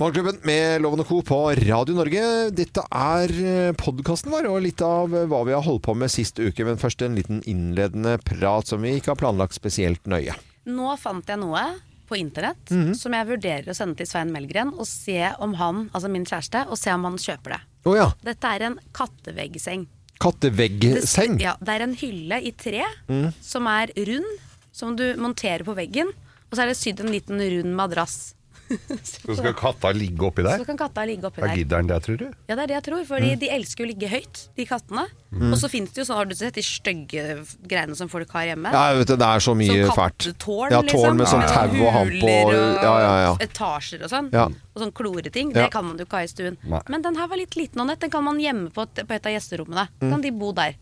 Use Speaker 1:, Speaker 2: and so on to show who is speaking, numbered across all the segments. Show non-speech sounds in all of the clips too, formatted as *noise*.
Speaker 1: Morgenklubben med Loven og Co. på Radio Norge. Dette er podkasten vår, og litt av eh, hva vi har holdt på med sist uke. Men først en liten innledende prat som vi ikke har planlagt spesielt nøye.
Speaker 2: Nå fant jeg noe på internett som jeg vurderer å sende til Svein Melgren og se om han, altså min kjæreste, og se om han kjøper det.
Speaker 1: Å ja.
Speaker 2: Dette er en katteveggseng. Det s-
Speaker 1: Katteveggseng. Mm.
Speaker 2: Ja, det er en hylle i tre som er rund, som du monterer på veggen. Og så er det sydd en liten rund madrass. *laughs*
Speaker 3: Så skal katta ligge
Speaker 2: Så
Speaker 3: oppi der?
Speaker 2: kan katta ligge oppi
Speaker 3: Da
Speaker 2: der.
Speaker 3: gidder Mm. den det, tror du?
Speaker 2: Ja, det er det jeg tror, fordi de elsker jo å ligge høyt, de kattene.
Speaker 3: Mm.
Speaker 2: Og så fins det jo sånn, har du sett de stygge greiene som folk har hjemme?
Speaker 1: Ja, vet du, det er så mye
Speaker 2: Sånn
Speaker 1: fælt.
Speaker 2: kattetårn, liksom.
Speaker 1: Ja, tårn med sånn tau og hamp og
Speaker 2: huler og
Speaker 1: Ja, ja, ja.
Speaker 2: etasjer og sånn.
Speaker 1: Ja.
Speaker 2: Og sånn kloreting.
Speaker 1: Ja.
Speaker 2: Det kan man jo ikke ha i stuen.
Speaker 3: Nei.
Speaker 2: Men den her var litt liten, Anette. Den kan man gjemme på et, på et av gjesterommene.
Speaker 1: Mm.
Speaker 2: Kan de bo der?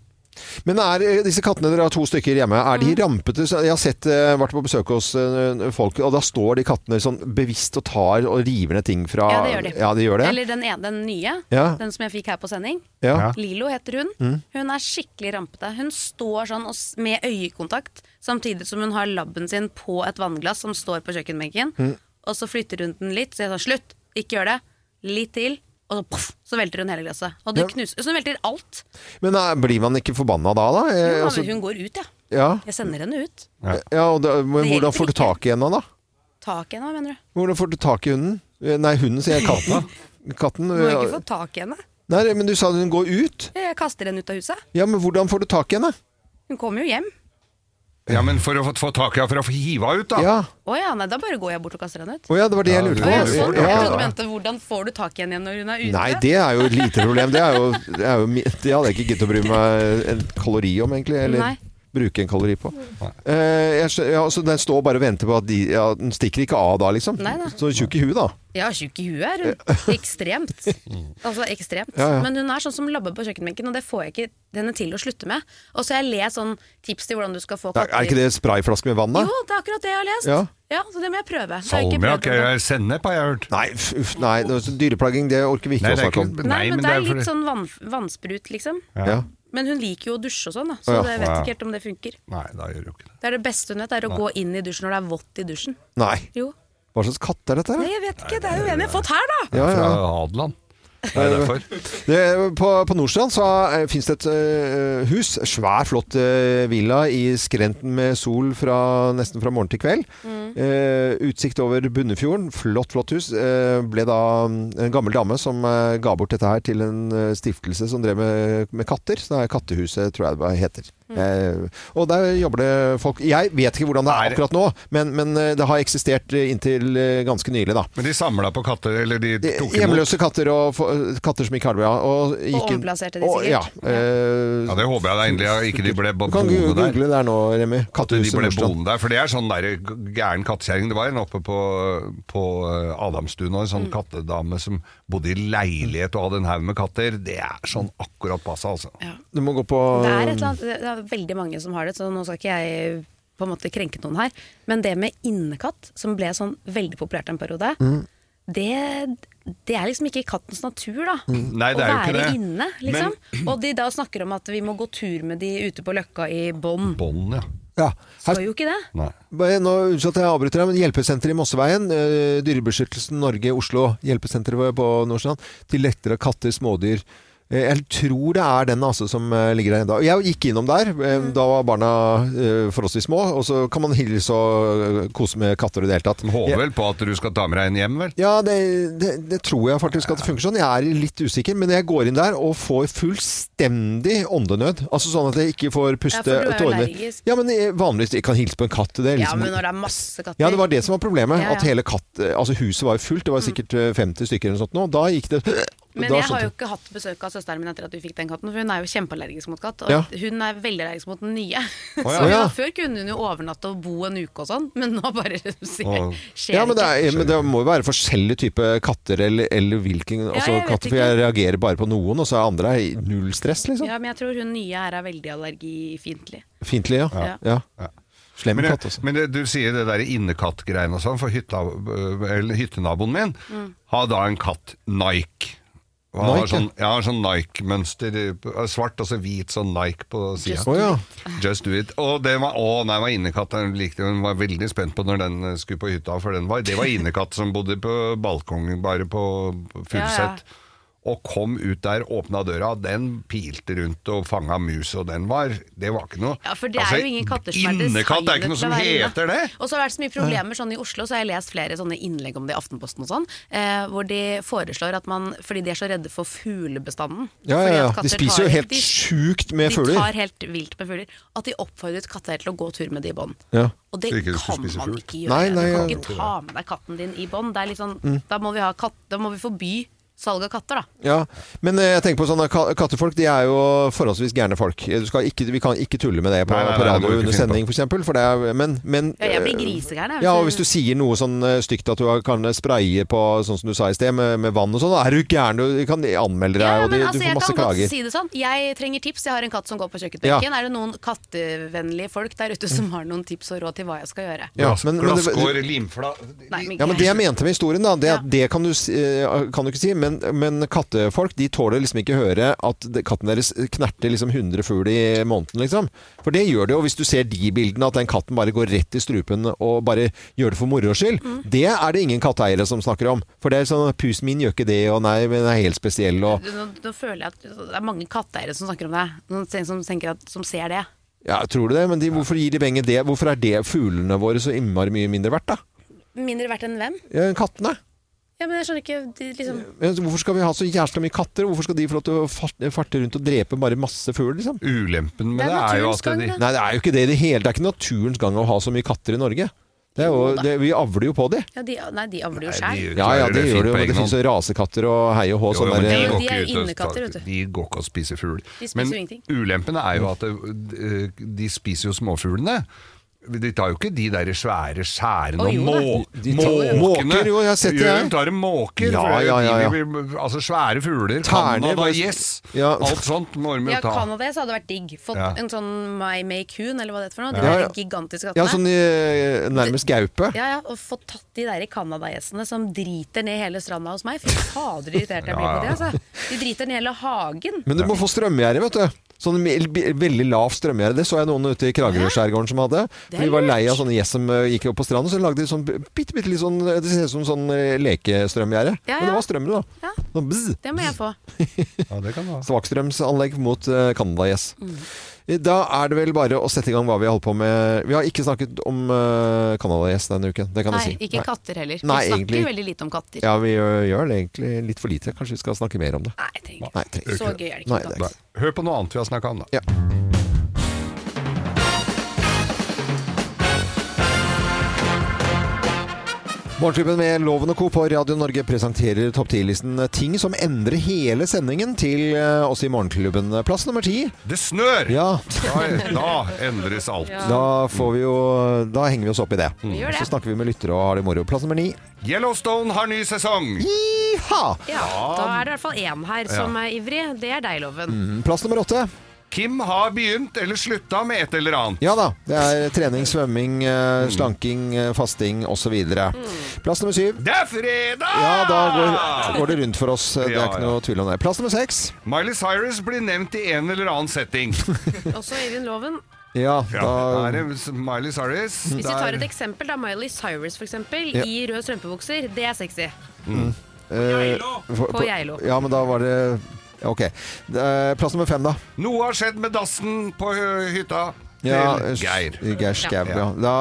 Speaker 1: Men er eh, disse kattene, dere har to stykker hjemme, er de
Speaker 2: Mm.
Speaker 1: rampete? Så Jeg har sett, eh, vært på besøk hos eh, folk, og da står de kattene sånn bevisst og tar og river ned ting fra
Speaker 2: Ja, det gjør de.
Speaker 1: Ja, de gjør det.
Speaker 2: Eller den, ene, den nye.
Speaker 1: Ja.
Speaker 2: Den som jeg fikk her på sending.
Speaker 1: Ja. Mm.
Speaker 2: Lilo heter hun. Hun er skikkelig rampete. Hun står sånn og s- med øyekontakt, samtidig som hun har labben sin på et vannglass som står på kjøkkenbenken. Og så flytter hun den litt, så jeg sa slutt, ikke gjør det. Litt til. Og så, poff, så velter hun hele glasset. Og det
Speaker 1: Ja.
Speaker 2: knuser. Så hun velter alt.
Speaker 1: Men eh, blir man ikke forbanna da, da? Eh,
Speaker 2: Hun,
Speaker 1: altså,
Speaker 2: hun går ut, ja.
Speaker 1: ja.
Speaker 2: Jeg sender henne ut.
Speaker 1: ja og da, men
Speaker 2: Det
Speaker 1: hvordan
Speaker 2: hjelper
Speaker 1: får du
Speaker 2: ikke.
Speaker 1: tak i henne da?
Speaker 2: Tak i henne, hva mener du?
Speaker 1: Hvordan får du tak i hunden? Eh, Nei, hunden, sier jeg. Katten. Katten
Speaker 2: Du må
Speaker 1: eh,
Speaker 2: ikke få tak i henne.
Speaker 1: Nei, men du sa hun går ut.
Speaker 2: Jeg kaster henne ut av huset.
Speaker 1: Ja, men hvordan får du tak i henne?
Speaker 2: Hun kommer jo hjem.
Speaker 3: Ja, men for å få- få tak i henne, for å få hiva ut, da.
Speaker 1: Ja.
Speaker 2: Å ja, nei, da bare går jeg bort og kaster henne ut.
Speaker 1: Å ja, det var det jeg
Speaker 2: Å
Speaker 1: lurte på.
Speaker 2: ja,
Speaker 3: Ja, du
Speaker 2: sånn. Jeg
Speaker 3: får tak i
Speaker 2: trodde du
Speaker 3: henne.
Speaker 2: mente hvordan får du tak i henne igjen når hun er ute?
Speaker 1: Nei, det er jo et lite problem. Det, er jo, det, er jo, mi- det hadde jeg ikke giddet å bry meg en kalori om, egentlig. Eller
Speaker 2: Nei.
Speaker 1: bruke en kalori på. Eh, jeg, skjø- ja, så den står bare og venter på at de ja, Den stikker ikke av da, liksom?
Speaker 2: Nei, nei.
Speaker 1: Så tjukk i huet, da.
Speaker 2: Ja, tjukk i huet er
Speaker 1: *laughs*
Speaker 2: hun. Ekstremt. Altså ekstremt.
Speaker 1: Ja, ja.
Speaker 2: Men hun er sånn som labber på kjøkkenbenken, og det får jeg ikke henne til å slutte med. Og så har jeg lest sånn tips til hvordan du skal få
Speaker 1: Er, er ikke det sprayflaske med vann, da?
Speaker 2: Jo, det er akkurat det jeg har lest.
Speaker 1: Ja.
Speaker 2: Så det må jeg prøve. Det har jeg ikke
Speaker 3: Salmiakk
Speaker 2: prøvd ennå.
Speaker 3: er sennep, har jeg hørt.
Speaker 1: Nei, f- uff, nei. det er så Dyreplaging, det orker vi ikke
Speaker 3: Nei,
Speaker 1: å
Speaker 3: det er
Speaker 1: snakke om.
Speaker 3: ikke-
Speaker 2: Nei, men det er
Speaker 3: fordi-
Speaker 2: litt sånn vann, vannsprut, liksom.
Speaker 1: Ja.
Speaker 2: Men hun liker jo å dusje og sånn, da,
Speaker 1: Å,
Speaker 2: så
Speaker 1: ja.
Speaker 2: jeg vet
Speaker 3: Ja.
Speaker 2: ikke helt om det funker.
Speaker 3: Nei, da gjør du ikke det.
Speaker 2: Det er det beste hun vet, er å gå inn i dusjen når det er vått i dusjen.
Speaker 1: Nei.
Speaker 2: Jo.
Speaker 1: Hva slags katt er dette?
Speaker 2: Nei,
Speaker 1: her?
Speaker 2: jeg vet ikke, det er jo en jeg har fått her, da!
Speaker 1: Ja,
Speaker 3: Fra
Speaker 1: ja.
Speaker 3: Hadeland. Det er derfor.
Speaker 1: Det, på, på Nordstrand så fins det et eh, hus, svær, flott eh, villa i skrenten med sol fra, nesten fra morgen til kveld. Eh, utsikt over Bunnefjorden. Flott, flott hus. Eh, ble da mm, en gammel dame som eh, ga bort dette her til en eh, stiftelse som drev med, med katter. Så det er Kattehuset, tror jeg det heter. Eh, og der jobber det folk Jeg vet ikke hvordan det er
Speaker 3: Er-
Speaker 1: akkurat nå, men, men eh, det har eksistert eh, inntil eh, ganske nylig, da.
Speaker 3: Men de samla på katter, eller de tok imot.
Speaker 1: Hjemløse katter og fo- katter som ikke har det bra. Og, gikk inn-
Speaker 2: omplasserte de
Speaker 1: og-
Speaker 2: sikkert.
Speaker 1: Ja.
Speaker 2: Ja.
Speaker 1: eh,
Speaker 3: Ja, Det håper jeg da endelig at ikke de ble
Speaker 1: du kan
Speaker 3: boende
Speaker 1: gu-
Speaker 3: der.
Speaker 1: google der nå, Remi.
Speaker 3: At de
Speaker 1: Kattehuset
Speaker 3: ble
Speaker 1: Nordstrand.
Speaker 3: boende der, for det er sånn der gæren kattekjerring det var en oppe på, på eh, Adamstuen. Og en
Speaker 2: Mm.
Speaker 3: sånn kattedame som bodde i leilighet og hadde en haug med katter. Det er sånn akkurat passe, altså.
Speaker 1: Du må gå på
Speaker 2: Det er, et eller annet, det er veldig mange som har det, så nå skal ikke jeg på en måte krenke noen her. Men det med innekatt, som ble sånn veldig populært en periode,
Speaker 1: mm,
Speaker 2: det, det er liksom ikke i kattens natur, da.
Speaker 1: mm.
Speaker 3: Nei, det er
Speaker 2: å
Speaker 3: jo
Speaker 2: være
Speaker 3: ikke det.
Speaker 2: inne, liksom. Og de da snakker om at vi må gå tur med de ute på løkka i bånd.
Speaker 3: Bånd, ja.
Speaker 1: Ja. Her
Speaker 2: Skal jo ikke det.
Speaker 3: Nei.
Speaker 1: Bare Nå, Unnskyld at jeg avbryter deg, men Hjelpesenteret i Mosseveien, eh, Dyrebeskyttelsen Norge Oslo, hjelpesenteret på Nordstrand, til lettere katter, smådyr. Eh, jeg tror det er den altså, som eh, ligger der ennå. Jeg gikk innom der, eh,
Speaker 2: Mm.
Speaker 1: da var barna eh, forholdsvis små, og så kan man hilse og eh, kose med katter i det hele tatt.
Speaker 3: De håper vel på at du skal ta med deg en hjem, vel?
Speaker 1: Ja, det, det, det tror jeg faktisk at det funker sånn. Jeg er litt usikker, men jeg går inn der og får fullstendig åndenød. Altså sånn at jeg ikke får puste
Speaker 2: Ja, for du er jo
Speaker 1: tårene.
Speaker 2: allergisk.
Speaker 1: Ja, men jeg- vanligvis jeg kan hilse på en katt. Det
Speaker 2: Ja,
Speaker 1: er liksom
Speaker 2: men når det er masse katter.
Speaker 1: ja, det var det som var problemet.
Speaker 2: Ja, ja. Mm.
Speaker 1: At hele katt, altså huset var jo fullt. Det var sikkert eh, 50 stykker eller noe sånt nå. Da gikk det *clears throat*
Speaker 2: Men
Speaker 1: da
Speaker 2: jeg har jo
Speaker 1: skjønte-
Speaker 2: ikke hatt besøk av søsteren min etter at du fikk den katten, for hun er jo kjempeallergisk mot katt. Og
Speaker 1: Ja.
Speaker 2: hun er veldig allergisk mot den nye.
Speaker 1: ja.
Speaker 2: *laughs* Så hun,
Speaker 1: Å, ja.
Speaker 2: før kunne hun jo overnatte og bo en uke og sånn, men nå bare *laughs* skjer,
Speaker 3: Å.
Speaker 2: skjer
Speaker 1: ja, men det,
Speaker 2: ikke.
Speaker 1: er, men det må jo være forskjellige typer katter eller, eller hvilken altså,
Speaker 2: jeg vet
Speaker 1: katter, For
Speaker 2: ikke.
Speaker 1: jeg reagerer bare på noen, og så er andre i null stress, liksom.
Speaker 2: Ja, men jeg tror hun nye her er veldig allergifiendtlig.
Speaker 1: Fiendtlig, ja.
Speaker 2: Ja.
Speaker 1: ja. Slem
Speaker 3: Men,
Speaker 1: katt, altså.
Speaker 3: men det, du sier det der innekattgreiene eh,
Speaker 2: Mm.
Speaker 3: og sånn, for hytta, eller hyttenaboen min har da en katt Nike. Og Han har
Speaker 1: Nike?
Speaker 3: sånn, jeg har sånn Nike-mønster. eh, Svart og så hvit sånn Nike på sida.
Speaker 1: Å Oh, ja.
Speaker 3: Just do it. Og det var, å, nei, det var innekatt. Hun likte Hun var veldig spent på når den eh, skulle på hytta. For den var, det var innekatt som bodde på balkongen, bare på
Speaker 2: Ja, ja.
Speaker 3: fullsett. Og kom ut der, åpna døra, den pilte rundt og fanga mus, og den var Det var ikke noe Altså,
Speaker 2: Ja, for det
Speaker 1: Altså,
Speaker 2: er jo ingen katter som er
Speaker 3: Innekatt det er ikke noe som
Speaker 2: designet til å være
Speaker 3: heter det!
Speaker 2: inne. Og så har det vært så mye problemer sånn i Oslo, så har jeg lest flere sånne innlegg om det i Aftenposten og sånn, eh, hvor de foreslår at man, fordi de er så redde for fuglebestanden
Speaker 1: Ja,
Speaker 2: fordi at
Speaker 1: ja, ja.
Speaker 2: katter
Speaker 1: De spiser jo
Speaker 2: tar-
Speaker 1: helt
Speaker 2: de-
Speaker 1: sjukt med
Speaker 2: De
Speaker 1: fugler.
Speaker 2: tar helt vilt med fugler. At de oppfordret katter til å gå tur med de i bånd.
Speaker 1: Ja.
Speaker 2: Og det
Speaker 3: Så ikke du
Speaker 2: kan
Speaker 3: skulle spise
Speaker 2: man
Speaker 3: fugl?
Speaker 2: ikke gjøre.
Speaker 1: Nei, Mm. nei,
Speaker 2: du kan
Speaker 1: jeg-
Speaker 2: ikke ta med deg katten din i bånd. Det er litt sånn, da, må vi ha katt, da må vi forby salg av katter, da.
Speaker 1: Ja, Men eh, jeg tenker på sånne ka- kattefolk, de er jo forholdsvis gærne folk. Eh, Du skal ikke, vi kan ikke tulle med det på,
Speaker 3: Nei, nei, nei, det
Speaker 1: på
Speaker 3: må du
Speaker 1: radio
Speaker 3: ikke
Speaker 1: under
Speaker 3: finne på.
Speaker 1: sending, for eksempel, for det er, men, men
Speaker 2: Ja, jeg blir altså.
Speaker 1: eh,
Speaker 2: grisegæren, jeg, hvis
Speaker 1: Ja, og
Speaker 2: du-
Speaker 1: hvis
Speaker 4: *laughs*
Speaker 1: du sier noe sånn eh, stygt at du har- kan spraye på, sånn som du sa i sted, med, med vann og sånn, da er du gæren? Du kan anmelde deg,
Speaker 2: Ja,
Speaker 1: og de,
Speaker 2: men altså,
Speaker 1: du
Speaker 2: jeg
Speaker 1: får masse
Speaker 2: kan godt
Speaker 1: klager.
Speaker 2: Si det sånn. Jeg trenger tips. Jeg har en katt som går på kjøkkenbenken. Er det noen kattevennlige folk der ute som har noen tips og råd til hva jeg skal gjøre?
Speaker 1: Ja, men- men det-
Speaker 3: Glasskår, limfla
Speaker 2: Nei, men
Speaker 1: Ja, men Det jeg
Speaker 2: greit.
Speaker 1: mente med historien, da, det,
Speaker 2: Ja.
Speaker 1: det kan, du, si- eh, kan du ikke si. Men, men kattefolk de tåler liksom ikke høre at det- katten deres knerter liksom 100 fugl i måneden. liksom. For det gjør det jo. Hvis du ser de bildene, at den katten bare går rett i strupen og bare gjør det for moro skyld,
Speaker 2: Mm.
Speaker 1: det er det ingen katteeiere som snakker om. For det er sånn 'Pusen min gjør ikke det', og 'nei, men den er helt spesiell', og
Speaker 2: Nå, nå føler jeg at det er mange katteeiere som snakker om det. Noen ten- som, tenker at, som ser det.
Speaker 1: Ja, tror du det? Men de, hvorfor gir de penger det? Hvorfor er det fuglene våre så innmari mye mindre verdt, da?
Speaker 2: Mindre verdt enn hvem?
Speaker 1: Ja, Kattene?
Speaker 2: Ja, men jeg skjønner ikke de, liksom,
Speaker 1: Men Hvorfor skal vi ha så jævla mye katter? Hvorfor skal de få lov til å fart- farte rundt og drepe bare masse fugler, liksom?
Speaker 3: Ulempen med
Speaker 2: Det
Speaker 3: det
Speaker 2: er
Speaker 3: er jo
Speaker 2: naturens
Speaker 3: at
Speaker 2: gang,
Speaker 3: de
Speaker 2: det.
Speaker 1: Nei, det er jo ikke det i det hele. Det er ikke naturens gang å ha så mye katter i Norge. Det er jo, det, vi avler jo på de.
Speaker 2: ja, de Nei, de avler jo
Speaker 3: Nei,
Speaker 2: sjæl.
Speaker 3: de
Speaker 1: Ja, ja,
Speaker 3: klarer
Speaker 1: det
Speaker 3: fint
Speaker 1: gjør det jo.
Speaker 3: på
Speaker 1: men
Speaker 3: egen
Speaker 1: Det
Speaker 3: hånd.
Speaker 1: finnes jo rasekatter og hei og
Speaker 3: Jo, jo,
Speaker 1: hå. Sånn
Speaker 3: men
Speaker 1: der,
Speaker 2: jo,
Speaker 3: går
Speaker 2: de er
Speaker 3: ikke ut og
Speaker 2: innekatter, vet
Speaker 3: tar-
Speaker 2: du.
Speaker 3: De går ikke og spiser fugl.
Speaker 2: De spiser
Speaker 3: Men
Speaker 2: jo ingenting.
Speaker 3: ulempen er jo at eh, de spiser jo småfuglene. De tar jo ikke de der svære skjærene
Speaker 2: Å,
Speaker 3: og
Speaker 2: jo da.
Speaker 3: må,
Speaker 1: De tar-
Speaker 3: måkene.
Speaker 1: Måker, jo, jeg har sett det, jeg.
Speaker 3: de tar måker.
Speaker 1: Ja,
Speaker 3: for det er jo
Speaker 1: ja, ja,
Speaker 3: de
Speaker 1: ja.
Speaker 3: vi blir- altså svære fugler.
Speaker 1: Terner,
Speaker 3: Canada,
Speaker 1: bare-
Speaker 3: gjess.
Speaker 1: Ja.
Speaker 3: Alt sånt må de
Speaker 2: Ja,
Speaker 3: jo ta.
Speaker 2: Canada så hadde det vært digg. Fått
Speaker 3: Ja.
Speaker 2: en sånn My May Coon, eller hva det heter for noe. De
Speaker 1: Ja,
Speaker 2: der
Speaker 1: ja.
Speaker 2: gigantiske kattene.
Speaker 1: ja, sånn eh, nærmest gaupe.
Speaker 2: Ja, ja, og få tatt de der canadagjessene som driter ned hele stranda hos meg. Fy fader, irritert jeg blir på de, altså. De driter ned hele hagen.
Speaker 1: Men du må få strømgjerde, vet du. Sånn me- b- veldig lav strømgjerde. Det så jeg noen ute i Kragerø-skjærgården som hadde.
Speaker 2: Det er
Speaker 1: De var
Speaker 2: lurt.
Speaker 1: lei av sånne gjess som eh, gikk opp på stranden, så lagde de sånn bitte, bitte litt sånn Det ser ut som sånn eh, lekestrømgjerde.
Speaker 2: Ja,
Speaker 1: Men
Speaker 2: ja.
Speaker 1: det var strømmen, da.
Speaker 2: Ja,
Speaker 1: Sånn bzz.
Speaker 2: det må jeg få.
Speaker 3: Ja, det kan du ha.
Speaker 1: Svakstrømsanlegg mot eh, Canada-gjess.
Speaker 2: Mm.
Speaker 1: Da er det vel bare å sette i gang hva vi har holdt på med. Vi har ikke snakket om eh, Canada-gjess denne uken. Det kan
Speaker 2: Nei,
Speaker 1: jeg si.
Speaker 2: ikke katter heller. Vi
Speaker 1: Nei,
Speaker 2: snakker
Speaker 1: egentlig-
Speaker 2: veldig lite om katter.
Speaker 1: Ja, vi gjør, gjør det egentlig litt for lite. Kanskje vi skal snakke mer om det.
Speaker 2: Nei, jeg trenger
Speaker 1: Nei,
Speaker 2: ikke.
Speaker 1: trenger ikke
Speaker 2: Så
Speaker 1: det.
Speaker 2: gøy er det ikke
Speaker 1: Nei,
Speaker 2: med
Speaker 1: det
Speaker 2: katter.
Speaker 3: Nei.
Speaker 1: er
Speaker 3: Hør på noe annet vi har snakka om, da.
Speaker 1: Ja. Morgenklubben med Loven og Co. på Radio Norge presenterer topp 10-listen ting som endrer hele sendingen til eh, oss i Morgenklubben. Plass nummer ti.
Speaker 3: Det snør!
Speaker 1: Ja,
Speaker 3: Da, da endres alt.
Speaker 1: *laughs* Da, får vi jo, da henger vi oss opp i det.
Speaker 2: gjør det.
Speaker 1: Så snakker vi med lyttere og har det moro. Plass nummer ni.
Speaker 3: Yellowstone har ny sesong!
Speaker 1: Iha!
Speaker 2: Ja, da er det i hvert fall én her som er ivrig. Det er deg, Loven.
Speaker 1: *laughs* Plass nummer åtte.
Speaker 3: Mm. Kim har begynt eller slutta med et eller annet.
Speaker 1: Ja da. Det er trening, svømming, eh, slanking, eh, fasting osv. Plass nummer syv.
Speaker 3: Det er fredag!
Speaker 1: Ja, da går, går det rundt for oss. Det er
Speaker 3: Ja,
Speaker 1: ikke
Speaker 3: ja.
Speaker 1: noe tvil om det. Plass nummer seks.
Speaker 3: Miley Cyrus blir nevnt i en eller annen setting.
Speaker 2: Også Øyvind Loven.
Speaker 1: *laughs* Ja,
Speaker 3: Ja,
Speaker 1: da
Speaker 3: da er det Miley Cyrus.
Speaker 2: Hvis vi tar et eksempel, da Miley Cyrus for eksempel,
Speaker 1: Ja.
Speaker 2: i røde strømpebukser. Det er sexy.
Speaker 3: Mm.
Speaker 1: eh, på-
Speaker 2: På Geilo.
Speaker 1: Ja, men da var det ja, Ok. Eh, Plass nummer fem, da.
Speaker 3: Noe har skjedd med dassen på hø- hytta til
Speaker 1: Ja, eh,
Speaker 3: Geir.
Speaker 1: Geir Skau,
Speaker 3: Ja.
Speaker 1: ja. Da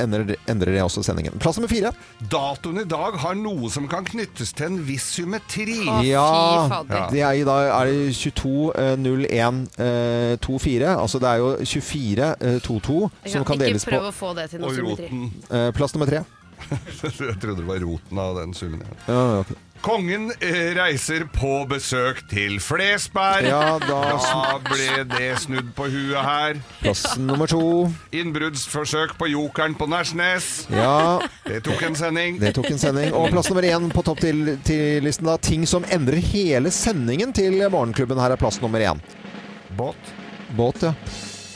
Speaker 1: endrer, det- endrer det også sendingen. Plass nummer fire.
Speaker 3: Datoen i dag har noe som kan knyttes til en viss symmetri.
Speaker 2: Å, fy
Speaker 1: Ja,
Speaker 2: fader.
Speaker 1: det er i dag er det eh, 22.01.24. Altså det er jo 24.22
Speaker 2: Jeg
Speaker 1: som
Speaker 2: kan
Speaker 1: kan deles
Speaker 2: ikke
Speaker 1: på
Speaker 2: prøve å få det til noe
Speaker 3: Og
Speaker 2: symmetri.
Speaker 3: roten.
Speaker 1: eh, plass nummer tre.
Speaker 3: *laughs* Jeg trodde det var roten av den summen. ja.
Speaker 1: Ja, ok.
Speaker 3: Kongen eh, reiser på besøk til Flesberg.
Speaker 1: Ja, da s-
Speaker 3: Da ble det snudd på huet her.
Speaker 1: Plass nummer to.
Speaker 3: Innbruddsforsøk på jokeren på Nærsnes.
Speaker 1: Ja,
Speaker 3: Det tok en sending.
Speaker 1: det tok en sending. Og plass nummer én på topp til, til listen da. Ting som endrer hele sendingen til Morgenklubben. Her er plass nummer én.
Speaker 3: Båt.
Speaker 1: Båt, ja.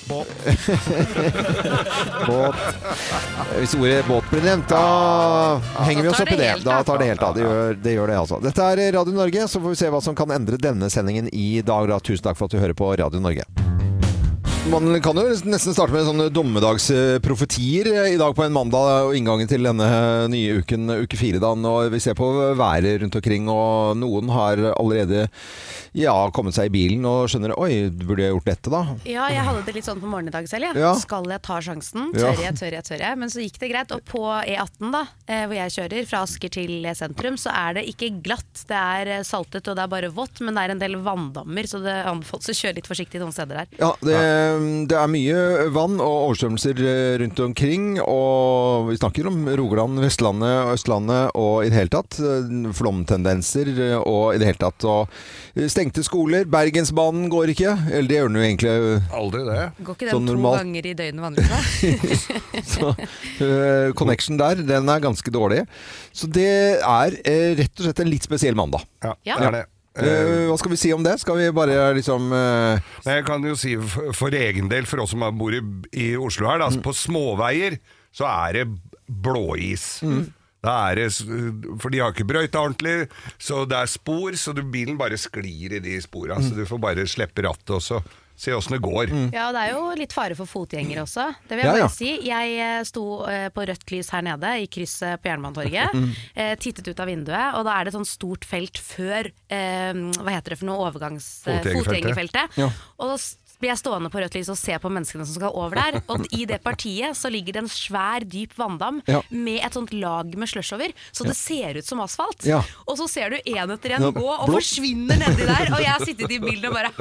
Speaker 3: Båt.
Speaker 1: *laughs* Båt. Hvis ordet båt blir nevnt, da henger vi oss
Speaker 2: tar
Speaker 1: opp i
Speaker 2: det
Speaker 1: det.
Speaker 2: helt
Speaker 1: Da
Speaker 2: av.
Speaker 1: tar det helt av. Det gjør det, gjør det altså. Dette er Radio Norge, så får vi se hva som kan endre denne sendingen i dag. Da. Tusen takk for at du hører på Radio Norge. Man kan jo nesten starte med sånne dommedagsprofetier eh, i dag på en mandag og inngangen til denne nye uken, uke fire. Da. Når vi ser på været rundt omkring, og noen har allerede ja, kommet seg i bilen og skjønner Oi, burde jeg gjort dette, da?
Speaker 2: Ja, jeg hadde det litt sånn på morgenen i dag selv. jeg.
Speaker 1: Ja.
Speaker 2: Skal jeg ta sjansen?
Speaker 1: Ja.
Speaker 2: Tør jeg, tør jeg, tør jeg? Men så gikk det greit. Og på E18, da, eh, hvor jeg kjører fra Asker til sentrum, så er det ikke glatt. Det er eh, saltet og det er bare vått, men det er en del vanndammer, så det anbefales å kjøre litt forsiktig noen steder der.
Speaker 1: Ja, det, det er mye vann og overstrømmelser eh, rundt omkring. Og vi snakker om Rogaland, Vestlandet og Østlandet og i det hele tatt. eh, Flomtendenser eh, og i det hele tatt. Og eh, stengte skoler. Bergensbanen går ikke. Eller det gjør den jo egentlig.
Speaker 3: Aldri det.
Speaker 2: Går ikke
Speaker 1: Sånn
Speaker 2: den to
Speaker 1: normalt.
Speaker 2: ganger i døgnet vanligvis? da?
Speaker 1: Så, eh, connection der, den er ganske dårlig. Så det er eh, rett og slett en litt spesiell mandag.
Speaker 3: Ja,
Speaker 2: Ja.
Speaker 3: det er det. Eh,
Speaker 1: Eh, hva skal vi si om det? Skal vi bare liksom eh,
Speaker 3: Men jeg kan jo si for, for egen del, for oss som bor i, i Oslo her, da,
Speaker 1: Mm.
Speaker 3: på småveier så er det blåis.
Speaker 1: Mm.
Speaker 3: Da er det, s- for de har ikke brøyta ordentlig, så det er spor, så du, bilen bare sklir i de spora.
Speaker 1: Mm.
Speaker 3: Så du får bare slippe rattet og så se åssen det går.
Speaker 2: Ja, og det er jo litt fare for fotgjengere også. Det vil
Speaker 1: Ja,
Speaker 2: jeg bare
Speaker 1: ja.
Speaker 2: si. Jeg eh, sto eh, på rødt lys her nede i krysset på Jernbanetorget.
Speaker 1: Mm.
Speaker 2: eh, Tittet ut av vinduet, og da er det et sånt stort felt før eh, Hva heter det for noe? Overgangs... eh,
Speaker 3: Fotgjengerfeltet.
Speaker 2: Fotgjengerfeltet. Og da s- blir jeg stående på rødt lys og se på menneskene som skal over der. Og i det partiet så ligger det en svær, dyp vanndam
Speaker 1: Ja.
Speaker 2: med et sånt lag med slush over, så det ser ut som asfalt.
Speaker 1: Ja.
Speaker 2: Og så ser du én etter én
Speaker 1: Ja,
Speaker 2: gå og
Speaker 1: blå-
Speaker 2: forsvinner nedi der. Og jeg har sittet i bilen og bare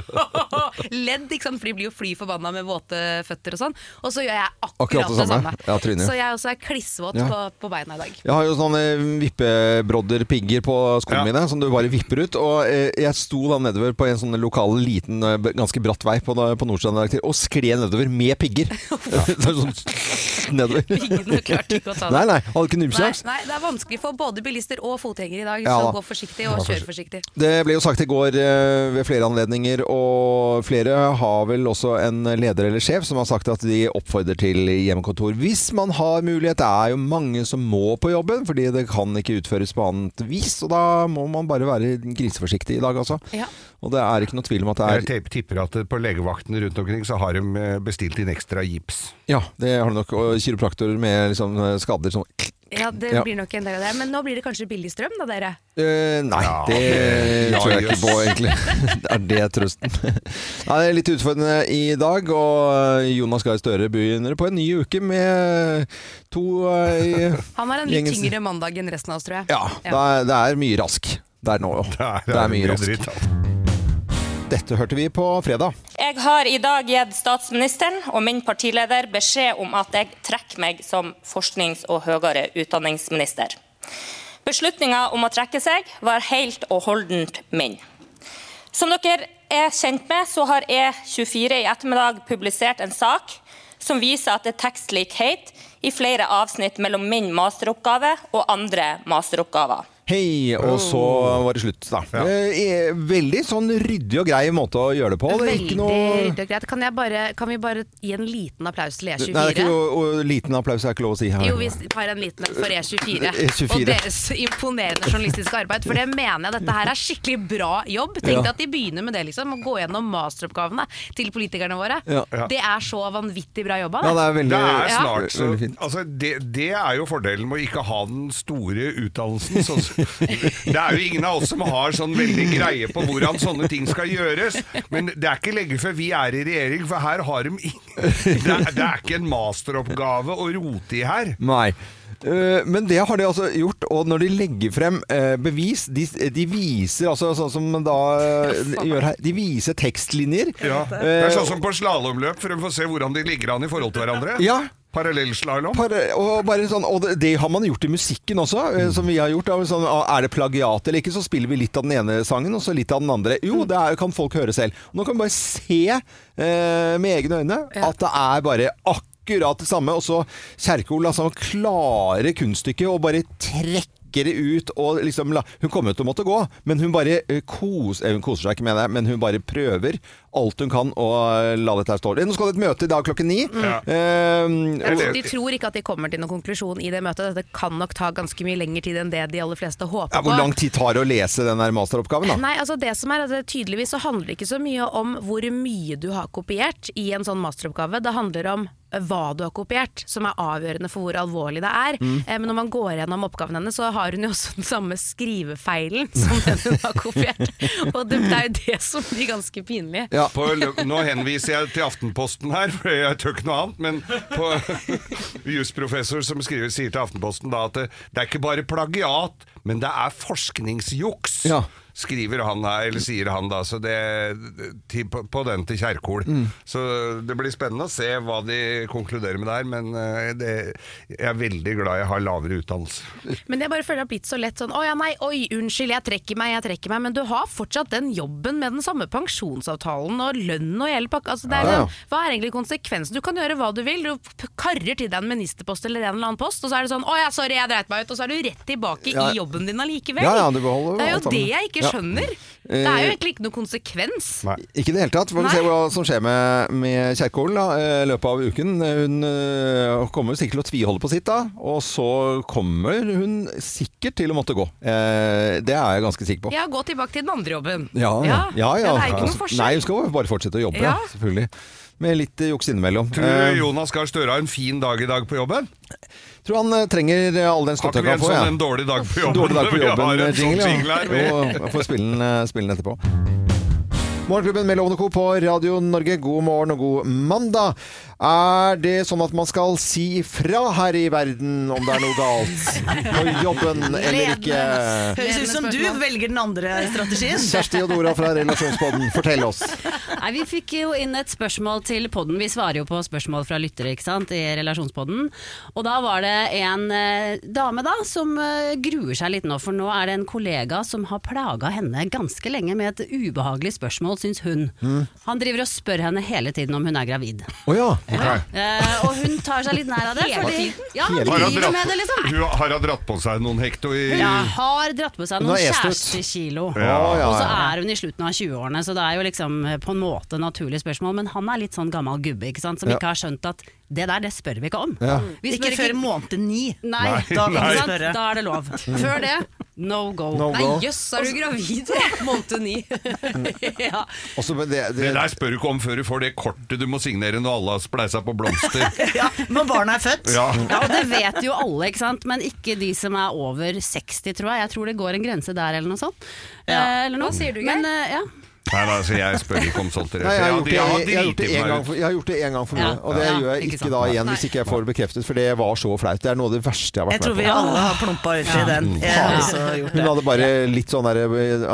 Speaker 2: *laughs* ledd, ikke sant? for de blir jo fly forbanna med våte føtter og sånn. Og så gjør jeg akkurat,
Speaker 1: Akkurat det
Speaker 2: det
Speaker 1: samme.
Speaker 2: samme.
Speaker 1: Ja, tryner.
Speaker 2: så jeg også er klissvåt
Speaker 1: Ja.
Speaker 2: på, på beina i dag.
Speaker 1: Jeg har jo sånne vippebrodder-pigger på skoene
Speaker 3: Ja.
Speaker 1: mine, som du bare vipper ut. Og eh, jeg sto da nedover på en sånn lokal, liten, eh, b- ganske bratt vei på, på Nordstrand i dag til, og skled nedover med
Speaker 2: *laughs*
Speaker 1: pigger. *laughs* Så det er sånn *laughs* nedover.
Speaker 2: Piggene klarte ikke å ta det.
Speaker 1: Nei, nei, hadde ikke
Speaker 2: Nei,
Speaker 1: nubbesjanse.
Speaker 2: nei, det er vanskelig for både bilister og fotgjengere i dag.
Speaker 1: Ja
Speaker 2: så
Speaker 1: da.
Speaker 2: gå forsiktig og kjør forsiktig.
Speaker 1: Det ble jo sagt i går eh, ved flere anledninger, og flere har vel også en leder eller sjef som har sagt at de oppfordrer til hjemmekontor hvis man har mulighet. Det er jo mange som må på jobben, fordi det kan ikke utføres på annet vis. Og da må man bare være griseforsiktig i dag, altså.
Speaker 2: Ja.
Speaker 1: Og det er ikke noe tvil om at det
Speaker 3: Jeg
Speaker 1: er
Speaker 3: te- tipper at det på legevakten rundt omkring så har de eh, bestilt inn ekstra gips.
Speaker 1: Ja, det har du nok. Og kiropraktorer med liksom, eh, skader som
Speaker 2: Ja, det
Speaker 1: Ja.
Speaker 2: blir nok en del av det. Men nå blir det kanskje billig strøm, da, dere.
Speaker 1: Eh, nei,
Speaker 3: Ja,
Speaker 1: det
Speaker 3: ok.
Speaker 1: tror jeg
Speaker 3: Ja,
Speaker 1: ikke på, egentlig. *laughs* er det trøsten? nei, det er litt utfordrende i dag, og eh, Jonas Gahr Støre begynner på en ny uke med to eh,
Speaker 2: *laughs* Han har en litt
Speaker 1: Gjengen-
Speaker 2: tyngre mandag enn resten av oss, tror jeg.
Speaker 1: Ja, det er, det er mye rask der nå.
Speaker 3: Der
Speaker 1: Det er mye altså. rask.
Speaker 3: dritt, altså.
Speaker 1: Dette hørte vi på fredag.
Speaker 5: Jeg har i dag gitt statsministeren og min partileder beskjed om at jeg trekker meg som forsknings- og høyere utdanningsminister. Beslutninga om å trekke seg var helt og holdent min. Som dere er kjent med, så har E24 i ettermiddag publisert en sak som viser at det er tekstlikhet i flere avsnitt mellom min masteroppgave og andre masteroppgaver.
Speaker 1: Hei, og så var det slutt, da. Eh, eh, Veldig sånn ryddig og grei måte å gjøre det på. Det er
Speaker 2: Veldig
Speaker 1: ikke noe
Speaker 2: ryddig og greit. Kan, jeg bare, kan vi bare gi en liten applaus til E24?
Speaker 1: Nei, det er ikke noe, og liten applaus er ikke lov å si her.
Speaker 2: Jo, vi tar en liten en for E24,
Speaker 1: *laughs* E24.
Speaker 2: og deres imponerende journalistiske arbeid. For det mener jeg dette her er skikkelig bra jobb. Tenk deg
Speaker 1: Ja.
Speaker 2: at de begynner med det, liksom. Å gå gjennom masteroppgavene til politikerne våre.
Speaker 1: Ja.
Speaker 3: Ja.
Speaker 2: Det er så vanvittig bra jobba.
Speaker 1: Ja, det er veldig
Speaker 3: Det er
Speaker 2: Ah. Ja.
Speaker 3: snart så,
Speaker 1: veldig fint.
Speaker 3: altså det, det er jo fordelen med å ikke ha den store utdannelsen. Sånn, som- det er jo ingen av oss som har sånn veldig greie på hvordan sånne ting skal gjøres. Men det er ikke lenge før vi er i regjering, for her har de ingen Det er, det er ikke en masteroppgave å rote i her.
Speaker 1: Nei. Eh, Men det har de altså gjort, og når de legger frem eh, bevis De, de viser altså sånn som man da eh, gjør her De viser tekstlinjer. Eh,
Speaker 3: Ja. Det er sånn som på slalåmløp, for å få se hvordan de ligger an i forhold til hverandre.
Speaker 1: Ja.
Speaker 3: Parallellslalåm.
Speaker 1: Par, og, bare sånn, og det, det har man gjort i musikken også, eh, som vi har gjort. da, Sånn, ah, er det plagiat eller ikke, så spiller vi litt av den ene sangen, og så litt av den andre. Jo, det er, kan folk høre selv. Nå kan vi bare se eh, med egne øyne at det er bare akkurat det samme. Og så Kjerkol, altså, han klarer kunststykket og bare trekker det ut og liksom la, Hun kommer jo til å måtte gå, men hun bare eh, kos, eh, hun koser seg ikke med det, men hun bare prøver alt hun kan og eh, la dette her stå. Nå skal det et møte i dag klokken ni.
Speaker 3: Ja.
Speaker 1: Eh, og-
Speaker 3: det-
Speaker 2: De tror ikke at de kommer til noen konklusjon i det møtet. Dette kan nok ta ganske mye lengre tid enn det de aller fleste håper
Speaker 1: ja, hvor
Speaker 2: på.
Speaker 1: lang tid tar det å lese den her masteroppgaven, da?
Speaker 2: Nei, altså det som er at det Tydeligvis så handler det ikke så mye om hvor mye du har kopiert i en sånn masteroppgave. Det handler om eh, hva du har kopiert, som er avgjørende for hvor alvorlig det er.
Speaker 1: Mm.
Speaker 2: Eh, Men når man går gjennom oppgaven hennes, så har hun jo også den samme skrivefeilen *laughs* som den hun har kopiert.
Speaker 1: *laughs*
Speaker 2: Og det, det er jo det som blir ganske pinlig.
Speaker 1: Ja.
Speaker 3: På, lø- nå henviser jeg til Aftenposten her, for jeg tør ikke noe annet. Men på *laughs* jusprofessor som skriver, sier til Aftenposten da at det, det er ikke bare plagiat, men det er forskningsjuks.
Speaker 1: Ja.
Speaker 3: Skriver han her, eller sier han da, så det, til, på, på den til Kjerkol.
Speaker 1: Mm.
Speaker 3: Så det blir spennende å se hva de konkluderer med der, men eh, det, jeg er veldig glad jeg har lavere utdannelse.
Speaker 2: Men jeg bare føler det har blitt så lett sånn Å ja, nei, oi, unnskyld, jeg trekker meg, jeg trekker meg. Men du har fortsatt den jobben med den samme pensjonsavtalen og lønn og hele pakka. Altså, det er,
Speaker 1: Ja, ja.
Speaker 2: sånn, hva er egentlig konsekvensen? Du kan gjøre hva du vil. Du p- karrer til deg en ministerpost eller en eller annen post, og så er det sånn Å ja, sorry, jeg dreit meg ut. Og så er du rett tilbake
Speaker 1: Ja.
Speaker 2: i jobben din allikevel.
Speaker 1: Ja, ja, du beholder
Speaker 2: det er
Speaker 1: alt
Speaker 2: jo
Speaker 1: sammen.
Speaker 2: det jeg ikke
Speaker 1: Ja.
Speaker 2: skjønner. Det er
Speaker 1: Eh,
Speaker 2: jo egentlig ikke noe konsekvens.
Speaker 1: Ikke i det hele tatt. Får vi
Speaker 2: Nei.
Speaker 1: se hva som skjer med, med Kjerkol da, eh, i løpet av uken. Hun eh, kommer sikkert til å tviholde på sitt da, og så kommer hun sikkert til å måtte gå. Eh, Det er jeg ganske sikker på.
Speaker 2: Ja, gå tilbake til den andre jobben.
Speaker 1: ja.
Speaker 2: Det er jo ikke
Speaker 1: Altså,
Speaker 2: noen forskjell.
Speaker 1: Nei, hun skal bare fortsette å jobbe,
Speaker 2: Ja.
Speaker 1: da, selvfølgelig. Med litt eh, juks innimellom.
Speaker 3: Tror
Speaker 1: Eh,
Speaker 3: du Jonas Gahr Støre har en fin dag i dag på jobben?
Speaker 1: tror han eh, trenger eh, all den
Speaker 3: Har
Speaker 1: støtta
Speaker 3: ikke vi
Speaker 1: han
Speaker 3: en
Speaker 1: får.
Speaker 3: sånn
Speaker 1: ja.
Speaker 3: en dårlig dag på jobben? *laughs*
Speaker 1: Dårlig dag på eh,
Speaker 3: Vi har en sånn
Speaker 1: jobben-jingle.
Speaker 3: jingle her, vi.
Speaker 1: Jeg får spille den, eh, spille den etterpå. Morgenklubben med Lovende Co. på Radio Norge, god morgen og god mandag. Er det sånn at man skal si ifra her i verden om det er noe galt på jobben eller ikke?
Speaker 6: Høres ut som du velger den andre strategien.
Speaker 1: Kjersti og Dora fra Relasjonspodden, fortell oss.
Speaker 7: *laughs* Nei, Vi fikk jo inn et spørsmål til podden. Vi svarer jo på spørsmål fra lyttere ikke sant, i relasjonspodden. Og da var det en eh, dame da som eh, gruer seg litt nå, for nå er det en kollega som har plaga henne ganske lenge med et ubehagelig spørsmål, syns hun.
Speaker 1: Mm.
Speaker 7: Han driver og spør henne hele tiden om hun er gravid.
Speaker 1: Å ja.
Speaker 7: Eh, og hun tar seg litt nær av det. Fordi, ja, han
Speaker 1: Hele
Speaker 3: Har han
Speaker 7: driver
Speaker 3: dratt,
Speaker 7: med det, liksom.
Speaker 3: Hun har han dratt på seg noen hekto i
Speaker 7: Ja, har dratt på seg
Speaker 1: Hun har
Speaker 7: noen
Speaker 1: est ut.
Speaker 7: kjærestekilo.
Speaker 1: Ja, ja,
Speaker 7: Og så
Speaker 1: ja.
Speaker 7: er hun i slutten av 20-årene, så det er jo liksom eh, på en måte naturlig spørsmål. Men han er litt sånn gammel gubbe ikke sant? som
Speaker 1: Ja.
Speaker 7: ikke har skjønt at det der, det spør vi ikke om.
Speaker 1: Ja.
Speaker 7: Vi
Speaker 6: Ikke
Speaker 7: spør
Speaker 6: før måned ni.
Speaker 7: Nei,
Speaker 6: Da kan
Speaker 7: ikke
Speaker 6: vi
Speaker 7: sant?
Speaker 6: spørre.
Speaker 7: Da er det lov. Før det, no go.
Speaker 1: No
Speaker 7: Mm. Nei,
Speaker 1: go.
Speaker 7: jøss, er du gravid? Måned ni. *laughs* ja.
Speaker 1: Også, men det,
Speaker 3: Det
Speaker 1: det,
Speaker 3: der spør du ikke om før du får det kortet du må signere når alle har spleisa på
Speaker 1: *laughs*
Speaker 3: blomster.
Speaker 6: Ja, når barna er
Speaker 7: *laughs*
Speaker 6: født.
Speaker 3: Ja.
Speaker 7: ja, og det vet jo alle, ikke sant? men ikke de som er over 60, tror jeg. Jeg tror det går en grense der eller noe sånt.
Speaker 6: Ja.
Speaker 7: Eh, eller noe. Hva sier du, Geir? Men, eh, ja.
Speaker 3: Nei, nei, altså, jeg spør ikke om sånt. Therese.
Speaker 1: Nei, jeg har
Speaker 3: Ja,
Speaker 1: gjort
Speaker 3: de
Speaker 1: det-
Speaker 3: har
Speaker 1: jeg- jeg har gjort
Speaker 3: driti
Speaker 1: det en
Speaker 3: meg
Speaker 1: gang
Speaker 3: ut.
Speaker 1: for- jeg har gjort det en gang for mye,
Speaker 7: Ja.
Speaker 1: og det
Speaker 7: Ja,
Speaker 1: gjør jeg
Speaker 7: ikke
Speaker 1: ikke
Speaker 7: sant.
Speaker 1: da igjen hvis ikke jeg får det bekreftet, for det var så flaut. Det er noe av det verste jeg har vært
Speaker 6: Jeg tror vi
Speaker 1: med på.
Speaker 6: alle har plumpa uti den. Jeg har også gjort
Speaker 1: Hun
Speaker 6: det.
Speaker 1: hadde bare litt sånn der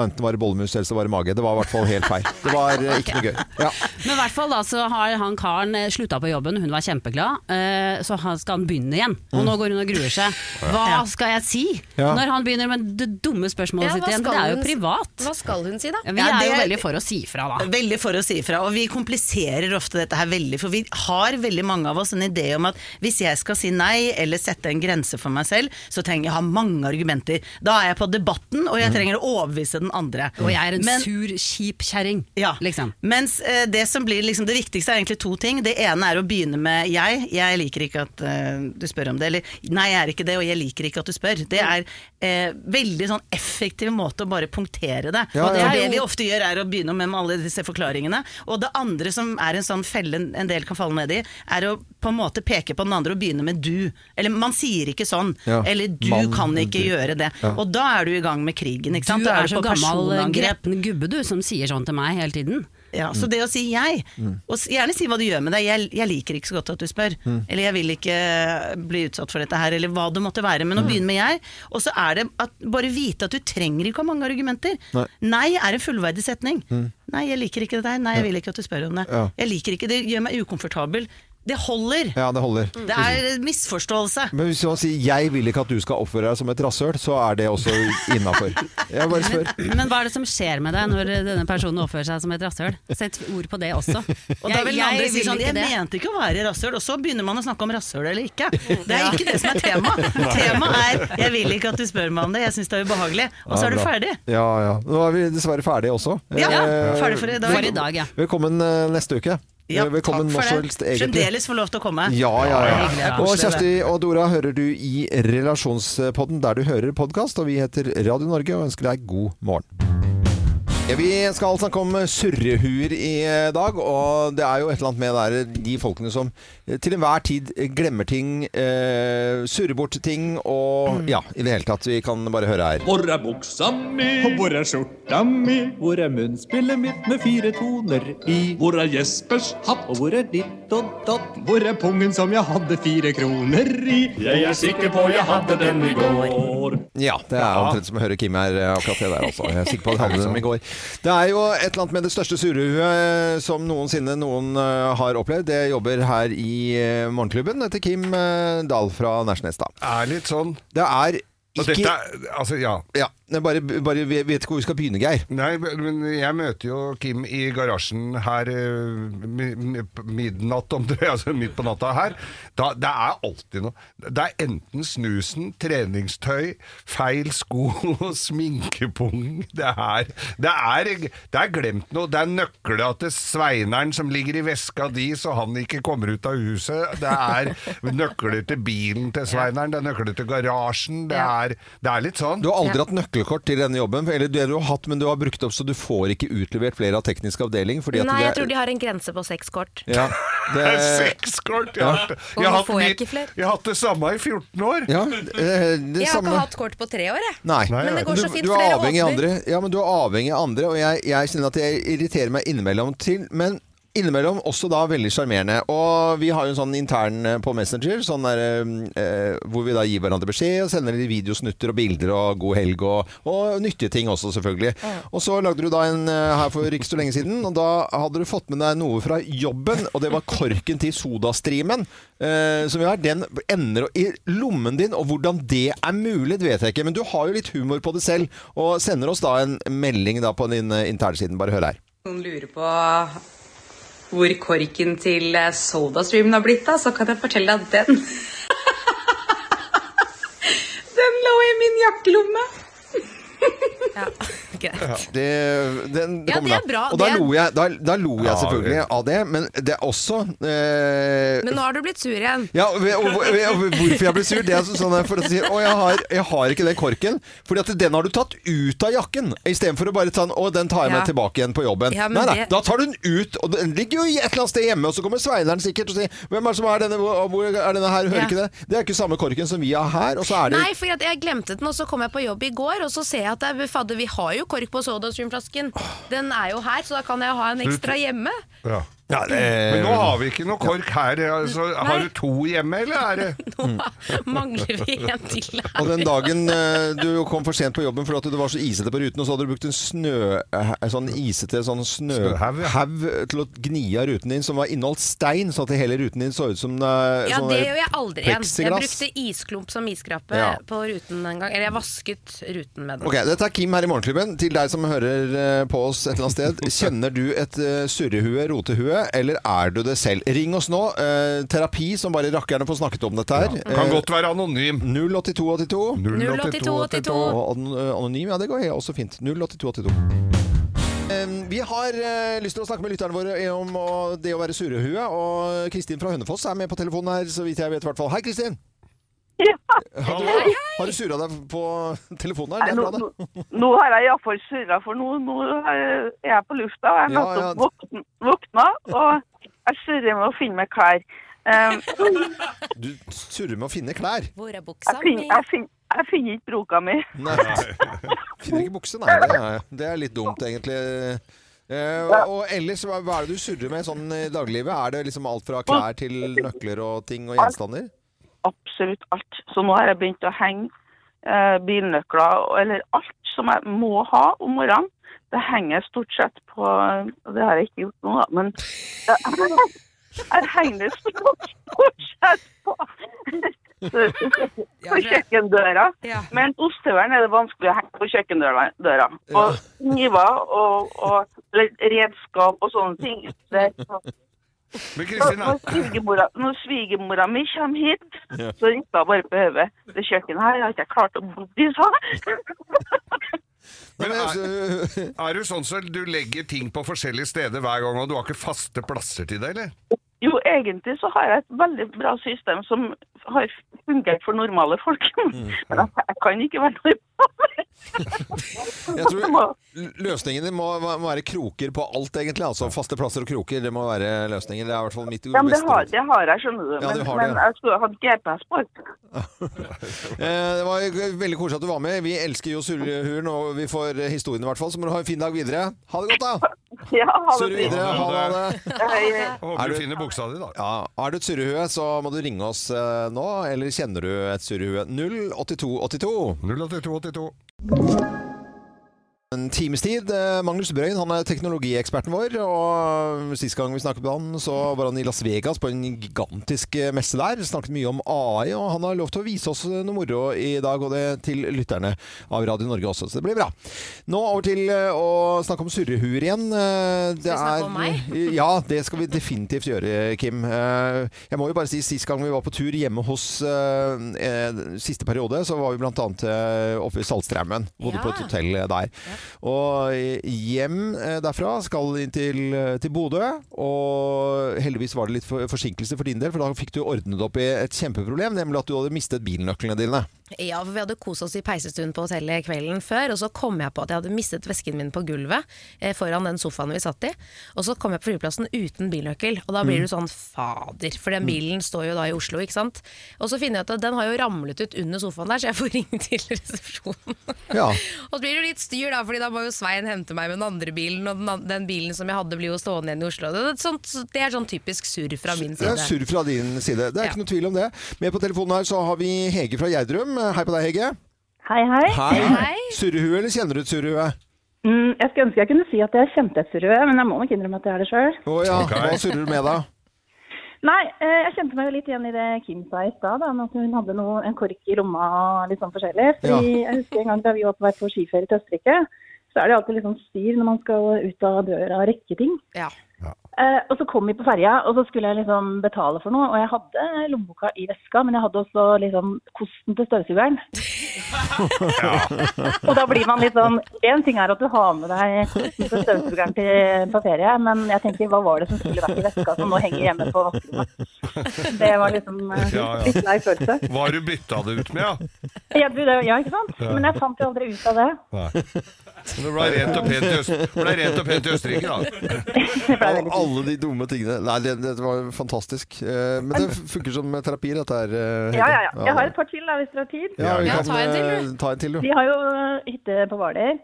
Speaker 1: Enten var det bollemus eller så var det mage. Det var i hvert fall helt feil. Det var eh, ikke noe gøy. Ja.
Speaker 7: Men i hvert fall da så har han karen eh, slutta på jobben, hun var kjempeglad, eh, så han skal han begynne igjen. Og nå går hun og gruer seg. Hva skal jeg si
Speaker 1: Ja.
Speaker 7: når han begynner med det dumme spørsmålet
Speaker 2: Ja,
Speaker 7: sitt
Speaker 2: hva
Speaker 7: igjen?
Speaker 2: skal
Speaker 7: Det er
Speaker 2: hun
Speaker 7: jo
Speaker 2: si?
Speaker 7: privat.
Speaker 2: Hva skal hun si, da?
Speaker 7: Ja, Vi
Speaker 6: Ja,
Speaker 7: er jo
Speaker 6: det-
Speaker 7: veldig for å si ifra, da.
Speaker 6: Veldig for å si ifra, og vi kompliserer ofte dette her veldig, for vi har veldig mange av oss en idé om at hvis jeg skal si nei, eller sette en grense for meg selv, så trenger jeg ha mange argumenter. Da er jeg på debatten, og jeg trenger å overbevise den andre.
Speaker 7: Mm. Og jeg er en
Speaker 6: Men-
Speaker 7: sur, kjip kjerring,
Speaker 6: Ja.
Speaker 7: liksom.
Speaker 6: Mens eh, det som blir liksom det viktigste er egentlig to ting. Det ene er å begynne med jeg. Jeg liker ikke at eh, du spør om det. Eller nei, jeg er ikke det, og jeg liker ikke at du spør. Det er eh, veldig sånn effektiv måte å bare punktere det.
Speaker 1: Ja,
Speaker 6: og det,
Speaker 1: ja.
Speaker 6: er det vi ofte gjør, er å begynne med, med alle disse forklaringene. Og det andre som er en sånn felle en del kan falle ned i, er å på en måte peke på den andre og begynne med du. Eller man sier ikke sånn.
Speaker 1: Ja.
Speaker 6: Eller du
Speaker 1: Man-
Speaker 6: kan ikke gjøre det.
Speaker 1: Ja.
Speaker 6: Og da er du i gang med krigen, ikke sant.
Speaker 7: Du
Speaker 6: Da
Speaker 7: er
Speaker 6: du
Speaker 7: så
Speaker 6: på
Speaker 7: gammel eh,
Speaker 6: personangrep.
Speaker 7: gretten gubbe du som sier sånn til meg hele tiden.
Speaker 6: Ja, Så det å si jeg, og s- gjerne si hva du gjør med deg, jeg, jeg liker ikke så godt at du spør, eller jeg vil ikke bli utsatt for dette her, eller hva det måtte være, men å begynne med jeg, og så er det at bare vite at du trenger ikke ha mange argumenter.
Speaker 1: Nei.
Speaker 6: Nei, er en fullverdig setning. Nei, jeg liker ikke det der, nei, jeg vil ikke at du spør om det.
Speaker 1: Ja.
Speaker 6: Jeg liker ikke, det gjør meg ukomfortabel. Det holder.
Speaker 1: Ja, det holder.
Speaker 6: Mm. Det er en misforståelse.
Speaker 1: Men hvis man sier 'jeg vil ikke at du skal oppføre deg som et rasshøl', så er det også innafor. Jeg bare spør.
Speaker 7: Men hva er det som skjer med deg når eh, denne personen oppfører seg som et rasshøl? Sett ord på det også.
Speaker 6: Og da vil den andre si
Speaker 7: vil
Speaker 6: sånn,
Speaker 7: ikke
Speaker 6: jeg
Speaker 7: det.
Speaker 6: mente ikke å være rasshøl, og så begynner man å snakke om rasshøl eller ikke. Det er ikke det som er
Speaker 7: *laughs*
Speaker 6: *laughs* tema. Tema er 'jeg vil ikke at du spør meg om det, jeg syns det er ubehagelig', og så er du
Speaker 1: bra.
Speaker 6: ferdig.
Speaker 1: Ja, ja. Nå er vi dessverre ferdige også.
Speaker 6: Ja,
Speaker 1: Eh,
Speaker 6: ferdig for i dag.
Speaker 7: For i dag, ja.
Speaker 1: Velkommen eh, neste uke.
Speaker 6: Ja,
Speaker 1: Eh, Velkommen
Speaker 6: takk for
Speaker 1: når som
Speaker 6: det.
Speaker 1: helst, egentlig.
Speaker 6: Fremdeles få lov til å komme.
Speaker 1: Ja, ja,
Speaker 6: Det
Speaker 1: ja.
Speaker 6: er
Speaker 1: Og
Speaker 6: koselig, det.
Speaker 1: Kjersti og Dora hører du i Relasjonspodden, der du hører podkast. Og vi heter Radio Norge og ønsker deg god morgen. Ja, vi skal snakke om surrehuer i dag, og det er jo et eller annet med det der, de folkene som til enhver tid glemmer ting, eh, surrer bort ting og Ja, i det hele tatt. Vi kan bare høre her.
Speaker 8: Mm. Hvor er buksa mi? Og hvor er skjorta mi? Hvor er munnspillet mitt med fire toner i? Hvor er Jespers hatt? Og hvor er ditt og datt? Hvor er pungen som jeg hadde fire kroner i? Jeg er sikker på jeg hadde den i går.
Speaker 1: Ja, det er omtrent som å høre Kim her, eh, akkurat det der altså. Jeg er sikker på at han hadde dem i går. Det er jo et eller annet med det største surrehuet som noensinne noen eh, har opplevd. Det jobber her i eh, Morgenklubben etter Kim eh, Dahl fra Nærsnes, da.
Speaker 3: Er litt sånn.
Speaker 1: Det er
Speaker 3: Og
Speaker 1: ikke
Speaker 3: dette er Altså, ja.
Speaker 1: ja, det er bare, bare vi vet ikke hvor vi skal begynne, Geir.
Speaker 3: Nei, men jeg møter jo Kim i garasjen her eh, mi- mi- midnatt, om det, *laughs* altså midt på natta her. Da, det er alltid noe. Det er enten snusen, treningstøy, feil sko, sminkepung. Det er, det er, det er glemt noe. Det er nøkla til Sveineren som ligger i veska di, så han ikke kommer ut av huset. Det er nøkler til bilen til Sveineren, det er nøkler til garasjen. Det
Speaker 7: Ja.
Speaker 3: er, det er litt sånn.
Speaker 1: Du har aldri hatt nøkkelkort til denne jobben, eller det du har hatt, men du har brukt opp, så du får ikke utlevert flere av teknisk avdeling. Fordi at
Speaker 9: Nei,
Speaker 1: det
Speaker 9: jeg
Speaker 1: er-
Speaker 9: tror de har en grense på seks kort.
Speaker 3: *laughs*
Speaker 1: ja, *laughs*
Speaker 3: Det er
Speaker 1: det,
Speaker 3: seks kort! Jeg har,
Speaker 9: Og
Speaker 3: jeg, har
Speaker 9: nå
Speaker 3: hatt
Speaker 9: får jeg
Speaker 3: mitt-
Speaker 9: ikke flere.
Speaker 3: jeg har hatt det samme i 14 år.
Speaker 1: ja, eh, det
Speaker 2: Jeg har
Speaker 1: samme
Speaker 2: ikke hatt kort på tre år, jeg.
Speaker 1: Nei.
Speaker 3: Nei, Men det jeg vet
Speaker 2: går
Speaker 1: du,
Speaker 2: så fint,
Speaker 1: du
Speaker 2: for
Speaker 1: er
Speaker 2: dere
Speaker 1: avhengig av
Speaker 2: åpner.
Speaker 1: andre. Ja, men du er avhengig av andre, og jeg, jeg kjenner at jeg irriterer meg innimellom til Men innimellom også da veldig sjarmerende. Og vi har jo en sånn intern eh, på Messenger sånn der, eh, eh, hvor vi da gir hverandre beskjed og sender videosnutter og bilder og god helg og, og nyttige ting også, selvfølgelig. Og så lagde du da en eh, her for ikke så lenge siden, og da hadde du fått med deg noe fra jobben, og det var korken til Sodastreamen eh, som vi har. Den ender i lommen din, og hvordan det er mulig, det vet jeg ikke. Men du har jo litt humor på det selv, og sender oss da en melding da på din eh, internsiden. Bare hør her.
Speaker 10: noen lurer på hvor korken til eh, SodaStreamen har blitt av, så kan jeg fortelle at den Den lå i min jakkelomme.
Speaker 2: Greit.
Speaker 1: Det, den,
Speaker 2: Ja,
Speaker 1: kommer
Speaker 2: det er
Speaker 1: da.
Speaker 2: bra.
Speaker 1: Og da
Speaker 2: Det er-
Speaker 1: lo jeg, da, da lo jeg
Speaker 3: Ja,
Speaker 1: selvfølgelig
Speaker 3: det-
Speaker 1: av det, men det er også eh,
Speaker 9: *laughs* Men nå har du blitt sur igjen.
Speaker 1: Ja, og, og, og, og hvorfor jeg ble sur, det er så- sånn der for å si Å, jeg har, jeg har ikke den korken. Fordi at den har du tatt ut av jakken, istedenfor å bare ta den Å, den tar jeg med
Speaker 9: Ja.
Speaker 1: tilbake igjen på jobben.
Speaker 9: Ja, men
Speaker 1: nei, nei,
Speaker 9: det-
Speaker 1: da tar du den ut, og den ligger jo i et eller annet sted hjemme. Og så kommer sveineren sikkert og sier Hvem er det som er denne, hvor hvor er denne her,
Speaker 9: Ja.
Speaker 1: hører ikke det? Det er ikke samme korken som vi har her, og så er det
Speaker 9: Nei, for jeg glemte den, og så kom jeg på jobb i går, og så ser jeg at det er, fadder, vi har jo kork på sodastreamflasken. Den er jo her, så da kan jeg ha en ekstra hjemme. *laughs*
Speaker 3: Ja.
Speaker 1: Ja, det-
Speaker 3: Men nå har vi ikke noe kork her. Altså, har du to hjemme, eller er det
Speaker 9: *laughs*
Speaker 1: Mm.
Speaker 9: Nå mangler vi en til
Speaker 1: Og
Speaker 9: her.
Speaker 1: den dagen eh, du kom for sent på jobben fordi at du var så isete på ruten, og så hadde du brukt en snø, eh, sånn isete sånn
Speaker 3: Snøhaug,
Speaker 1: snøhaug
Speaker 3: ja.
Speaker 1: til å gni av ruten din, som var inneholdt stein, så at hele ruten din så ut som eh,
Speaker 2: Ja,
Speaker 1: sånn
Speaker 2: det
Speaker 1: der
Speaker 2: gjør jeg aldri igjen. Jeg
Speaker 1: plexiglass.
Speaker 2: brukte isklump som iskrappe
Speaker 1: Ja.
Speaker 2: på ruten en gang. Eller jeg vasket ruten med den.
Speaker 1: Ok, Dette er Kim her i Morgenklubben. Til deg som hører eh, på oss et eller annet
Speaker 3: *laughs*
Speaker 1: sted. Kjenner du et eh, surrehue, rotehue, eller er du det selv? Ring oss nå. eh, Terapi som bare rakkerne får snakket om dette her. Eh,
Speaker 3: Kan godt være anonym.
Speaker 1: 08282.
Speaker 9: 08282.
Speaker 1: Og an- eh, anonym, ja det går helt også fint. 08282. Em, Vi har eh, lyst til å snakke med lytterne våre om å- det å være surrehue. Og Kristin fra Hønefoss er med på telefonen her, så vidt jeg vet i hvert fall. Hei, Kristin! Har du, har du surra deg på *laughs* telefonen her? Det er
Speaker 11: Nå,
Speaker 1: bra, det.
Speaker 11: nå- nå har jeg iallfall surra, for nå, nå er jeg på lufta. og Jeg
Speaker 1: Ja,
Speaker 11: er
Speaker 1: ja.
Speaker 11: nettopp våkn- våkna, og jeg surrer med å finne meg klær. Um,
Speaker 1: Du surrer med å finne klær.
Speaker 2: Hvor er buksa
Speaker 11: jeg,
Speaker 2: mi?
Speaker 11: finner, jeg, finner, jeg finner ikke broka mi.
Speaker 1: Nei. Finner ikke bukse, nei. Det er, det er litt dumt, egentlig. Eh, og ellers, hva, hva er det du surrer med sånn i daglivet? Er det liksom alt fra klær til nøkler og ting og gjenstander?
Speaker 11: Absolutt alt. Så nå har jeg begynt å henge eh, bilnøkler, og- eller alt som jeg må ha om morgenen. Det henger jeg stort sett på og Det har jeg ikke gjort nå, da, men *laughs* Jeg henger det stort stort sett på på kjøkkendøra.
Speaker 10: Ja.
Speaker 11: Men ostehøvelen er det vanskelig å henge på kjøkkendøra. døra. Og kniver og, og litt redskap og sånne ting. Det,
Speaker 3: Men
Speaker 11: og når,
Speaker 3: Kristina,
Speaker 11: svigermora, når svigermora mi kommer hit, så rister hun bare på hodet. Det kjøkkenet her har ikke jeg klart å bo i, sa hun.
Speaker 1: Nei, men, altså,
Speaker 3: er du sånn som du legger ting på forskjellige steder hver gang, og du har ikke faste plasser til det, eller?
Speaker 11: Jo, egentlig så har jeg et veldig bra system som har fungert for normale folk. *laughs* Men jeg, jeg kan ikke være normal.
Speaker 1: jeg
Speaker 11: *laughs*
Speaker 1: tror løsningene må va- være kroker på alt, egentlig. Altså faste plasser og kroker, det må være løsningen. Det er i hvert fall mitt
Speaker 11: Ja, men det
Speaker 1: beste
Speaker 11: har,
Speaker 1: råd.
Speaker 11: det har jeg, skjønner du.
Speaker 1: Ja,
Speaker 11: Men,
Speaker 1: du har det,
Speaker 11: men
Speaker 1: ja.
Speaker 11: jeg skulle hatt GPS på alt.
Speaker 1: Eh, Det var jo veldig koselig at du var med. Vi elsker jo Surrehuren, og vi får historien i hvert fall. Så må du ha en fin dag videre. Ha det godt,
Speaker 12: *laughs*
Speaker 1: da!
Speaker 11: Ja, ha det
Speaker 1: Surre
Speaker 11: fint.
Speaker 1: videre. Ha det.
Speaker 11: Hei, hei.
Speaker 3: Jeg håper
Speaker 1: Er
Speaker 3: du
Speaker 1: du-
Speaker 3: finner buksa di, da.
Speaker 1: Ja, Er du et surrehue, så må du ringe oss eh, nå. Eller kjenner du et surrehue? 08282.
Speaker 3: 08282.
Speaker 1: En times tid. Eh, Magnus Brøyn han er teknologieksperten vår. og Sist gang vi snakket med han, så var han i Las Vegas på en gigantisk eh, messe der. Snakket mye om AI, og han har lov til å vise oss eh, noe moro i dag. Og det til lytterne av Radio Norge også, så det blir bra. Nå over til eh, å snakke om surrehuer igjen. Eh,
Speaker 9: Skal
Speaker 1: Det
Speaker 9: vi snakke
Speaker 1: er-
Speaker 9: om meg?
Speaker 1: Ja, det skal vi definitivt gjøre, Kim. Eh, Jeg må jo bare si, sist gang vi var på tur hjemme hos eh, eh, siste periode, så var vi blant annet eh, oppe i Saltstraumen. Bodde
Speaker 9: Ja.
Speaker 1: på et hotell eh, der. Og eh, hjem eh, derfra skal inn til, til Bodø, og heldigvis var det litt for, forsinkelse for din del, for da fikk du ordnet opp i et kjempeproblem, nemlig at du hadde mistet bilnøklene dine.
Speaker 9: Ja, for vi hadde kost oss i peisestuen på hotellet kvelden før, og så kom jeg på at jeg hadde mistet vesken min på gulvet eh, foran den sofaen vi satt i. Og så kom jeg på flyplassen uten bilnøkkel, og da
Speaker 1: Mm.
Speaker 9: blir du sånn fader, for den bilen står jo da i Oslo, ikke sant. Og så finner jeg ut at den har jo ramlet ut under sofaen der, så jeg får *laughs* ringe til resepsjonen. *laughs*
Speaker 1: Ja.
Speaker 9: Og så blir det jo litt styr, da, Fordi da må jo Svein hente meg med den andre bilen, og den, an- den bilen som jeg hadde, blir jo stående igjen i Oslo. Det er, sånt, det er sånn typisk surr fra min
Speaker 1: Det
Speaker 9: side.
Speaker 1: er surr fra din side. Det er ikke noe tvil om det. Med på telefonen her så har vi Hege fra Gjerdrum. Hei på deg, Hege.
Speaker 11: Hei, hei.
Speaker 1: Hei. Surrehue, eller kjenner du et surrehue?
Speaker 11: Mm, jeg skulle ønske jeg kunne si at jeg kjente et surrød, men jeg må nok innrømme at jeg er det sjøl.
Speaker 1: Å ja,
Speaker 3: Ok.
Speaker 1: hva surrer du med da?
Speaker 11: Nei, eh, jeg kjente meg jo litt igjen i det Kim sa i stad, da, med at hun hadde noe, en kork i lomma og litt sånn forskjellig. Fordi Jeg husker en gang da vi var på vei på skiferie til Østerrike, så er det alltid litt sånn styr når man skal ut av døra og rekke ting.
Speaker 9: Ja.
Speaker 11: Eh, og så kom vi på ferja, og så skulle jeg liksom betale for noe. Og jeg hadde lommeboka i veska, men jeg hadde også liksom kosten til støvsugeren.
Speaker 13: *laughs*
Speaker 11: og da blir man litt sånn Én ting er at du har med deg kosten til støvsugeren til, på ferie, men jeg tenker hva var det som skulle vært i veska som nå henger hjemme på vaskerommet? Det var liksom eh,
Speaker 3: Ja, ja.
Speaker 11: litt lei følelse.
Speaker 3: Hva har du bytta det ut med, da?
Speaker 11: Jeg burde, ja, ikke sant? Men jeg fant jo aldri ut av det.
Speaker 14: *laughs*
Speaker 3: Men Det ble rent og pent i Øst- ble rent og pent i Østerrike, da.
Speaker 11: *laughs* Det ble
Speaker 1: Alle,
Speaker 11: veldig
Speaker 1: alle de dumme tingene. Nei, det, det var fantastisk. Eh, Men det funker som terapi, dette her. eh, Hege.
Speaker 11: Ja, ja, ja. Jeg har et par til da, hvis dere har tid.
Speaker 1: Ja, vi
Speaker 9: Ja,
Speaker 1: kan
Speaker 9: ta en til, du.
Speaker 1: eh, ta en til, du.
Speaker 11: Vi har jo eh, hytte på Hvaler.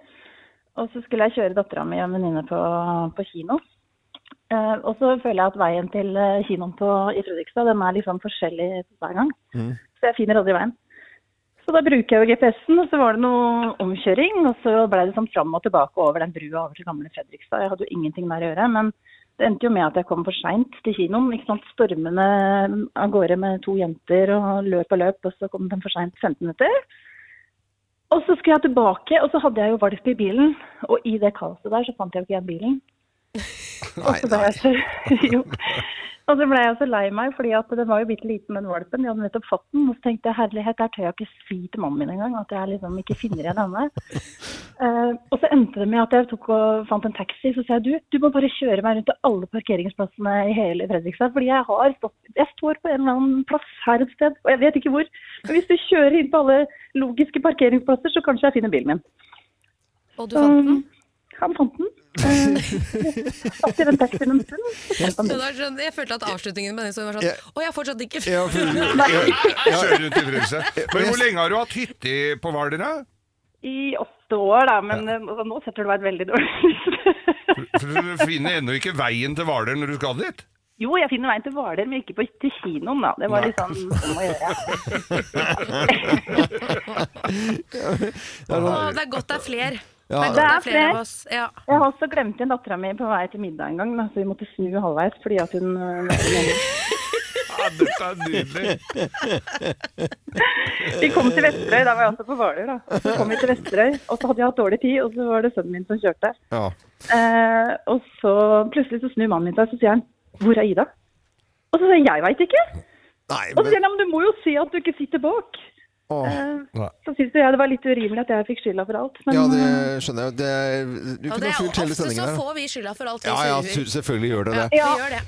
Speaker 11: Og så skulle jeg kjøre dattera mi og en venninne på, på kino. Eh, og så føler jeg at veien til eh, kinoen på, i Fredrikstad den er liksom forskjellig hver gang.
Speaker 1: Mm.
Speaker 11: Så jeg finner aldri veien. Så da bruker jeg jo GPS-en, og så var det noe omkjøring. Og så ble det sånn fram og tilbake over den brua over til gamle Fredrikstad. Jeg hadde jo ingenting der å gjøre. men det endte jo med at jeg kom for seint til kinoen. ikke sant, Stormende av gårde med to jenter og løp og løp, og så kom de for seint 15 minutter. Og så skulle jeg tilbake, og så hadde jeg jo valp i bilen. Og i det kaoset der så fant jeg jo ikke igjen bilen. Og
Speaker 1: Nei,
Speaker 11: så ble
Speaker 1: nei.
Speaker 11: jeg så, *laughs* jo. Og så ble jeg så lei meg, fordi at den var jo bitte liten, den valpen. Jeg hadde nettopp fått den. Og så tenkte jeg herlighet, der tør jeg ikke si til mannen min engang at jeg liksom ikke finner igjen
Speaker 1: *laughs*
Speaker 11: henne. Eh, og så endte det med at jeg tok og fant en taxi. Så sa jeg du, du må bare kjøre meg rundt til alle parkeringsplassene i hele Fredrikstad. Fordi jeg har stått Jeg står på en eller annen plass her et sted, og jeg vet ikke hvor. Men hvis du kjører inn på alle logiske parkeringsplasser, så kanskje jeg finner bilen min.
Speaker 9: Og du fant den?
Speaker 11: Um, Han fant den. Eh, satt i den taxien en stund. så fant han
Speaker 9: Det
Speaker 11: bilen.
Speaker 9: var sånn, jeg følte at avslutningen på den historien var
Speaker 1: Ja.
Speaker 9: sånn Å, jeg har fortsatt ikke
Speaker 1: Ja, for,
Speaker 3: Kjører rundt i Fredrikstad. Men hvor lenge har du hatt hytte i- på Hvaler, da?
Speaker 11: I åtte år, da. Men eh, altså, nå setter du meg et veldig dårlig *laughs* lys.
Speaker 3: For Du finner ennå ikke veien til Hvaler når du skal dit.
Speaker 11: jo, jeg finner veien til Hvaler, men ikke på, til kinoen, da. Det var litt
Speaker 1: *laughs*
Speaker 11: sånn om å gjøre.
Speaker 9: Å, Det er godt det er fler.
Speaker 1: Ja,
Speaker 11: det er flere.
Speaker 2: av oss. Ja.
Speaker 11: Jeg har også glemt igjen dattera mi på vei til middag en gang, da, så vi måtte snu halvveis fordi at hun
Speaker 1: *laughs*
Speaker 11: øh, var alene.
Speaker 3: Ja, dette er nydelig.
Speaker 11: Vi kom til Vesterøy, da var jeg også på Hvaler, da. Så kom vi til Vesterøy, og så hadde jeg hatt dårlig tid, og så var det sønnen min som kjørte.
Speaker 1: ja.
Speaker 11: Eh, og så plutselig så snur mannen min seg, så sier han 'Hvor er Ida?' Og så sier jeg 'Jeg veit ikke'.
Speaker 1: Nei,
Speaker 11: Og så sier
Speaker 1: men,
Speaker 11: han 'Ja, men du må jo se at du ikke sitter bak'.
Speaker 1: å,
Speaker 11: Eh,
Speaker 3: Nei.
Speaker 11: Så syns jo jeg det var litt urimelig at jeg fikk skylda for alt. Men
Speaker 1: ja, det
Speaker 11: eh,
Speaker 1: skjønner jeg. Det, er- du
Speaker 9: Og
Speaker 1: kunne
Speaker 9: det
Speaker 1: ha
Speaker 9: er
Speaker 1: fulgt hele
Speaker 9: ofte så
Speaker 1: sendingen der.
Speaker 9: får vi skylda for alt vi
Speaker 1: Ja, ja,
Speaker 9: sier.
Speaker 1: su- selvfølgelig gjør det det.
Speaker 9: Vi gjør det.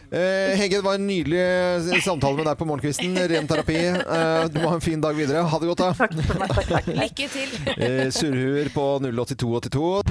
Speaker 1: Eh, Hegge, det var en nydelig samtale med deg på morgenkvisten. Ren terapi. Eh, du må ha en fin dag videre. Ha det godt, da.
Speaker 9: Lykke til.
Speaker 1: Eh, Surhuer på 08282.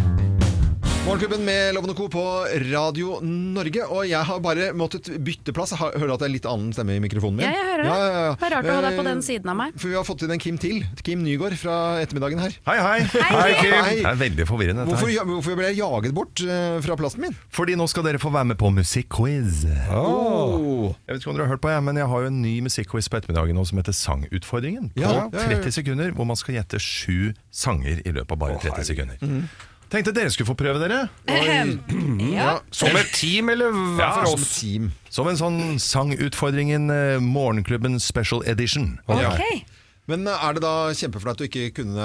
Speaker 1: Morgenklubben med Loven og Co. på Radio Norge. Og jeg har bare måttet bytte plass. Jeg har- hører du at det er litt annen stemme i mikrofonen min?
Speaker 2: Ja, jeg hører det.
Speaker 1: Ja, ja, ja.
Speaker 2: Det er rart å ha deg på
Speaker 1: Eh,
Speaker 2: den siden av meg.
Speaker 1: For vi har fått inn en Kim til. Kim Nygaard fra ettermiddagen her.
Speaker 4: Hei, hei.
Speaker 3: Hei, Kim.
Speaker 1: Hei.
Speaker 4: Det er veldig forvirrende. dette
Speaker 1: Hvorfor,
Speaker 4: her.
Speaker 1: hvorfor ble jeg jaget bort eh, fra plassen min?
Speaker 4: Fordi nå skal dere få være med på musikkquiz.
Speaker 1: Oh.
Speaker 4: Jeg vet ikke om dere har hørt på, jeg, men jeg har jo en ny musikkquiz på ettermiddagen nå som heter Sangutfordringen. På
Speaker 1: Ja, ja, ja.
Speaker 4: 30 sekunder, hvor man skal gjette sju sanger i løpet av bare 30 sekunder.
Speaker 1: Mm.
Speaker 4: Tenkte dere skulle få prøve dere.
Speaker 3: Som et team, eller hva
Speaker 4: Ja,
Speaker 3: for
Speaker 1: Som
Speaker 3: oss?
Speaker 1: team.
Speaker 4: Som en sånn Sangutfordringen eh, Morgenklubben special edition.
Speaker 2: Ok.
Speaker 1: Men eh, er det da kjempeflaut å ikke kunne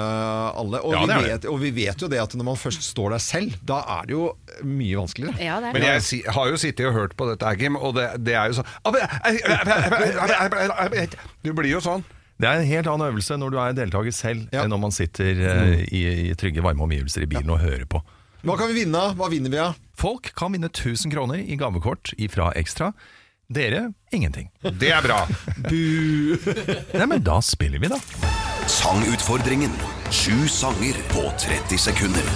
Speaker 1: alle? Og,
Speaker 4: Ja, det er
Speaker 1: vi
Speaker 4: det.
Speaker 1: vet, og vi vet jo det at når man først står der selv, da er det jo mye vanskeligere.
Speaker 2: Ja, det er
Speaker 3: Men
Speaker 2: det.
Speaker 3: jeg si, har jo sittet og hørt på dette, her, Kim, og det, det er jo sånn Du blir jo sånn.
Speaker 4: Det er en helt annen øvelse når du er deltaker selv,
Speaker 1: Ja. Mm.
Speaker 4: enn når man sitter eh, i, i trygge, varme omgivelser i bilen og hører på.
Speaker 1: Hva kan vi vinne av? Hva vinner vi av?
Speaker 4: Folk kan vinne 1000 kroner i gavekort ifra Ekstra. Dere ingenting.
Speaker 3: Det er
Speaker 1: *laughs*
Speaker 3: bra.
Speaker 4: Nei, men da spiller vi, da.
Speaker 15: Sangutfordringen. Sju sanger på 30 sekunder.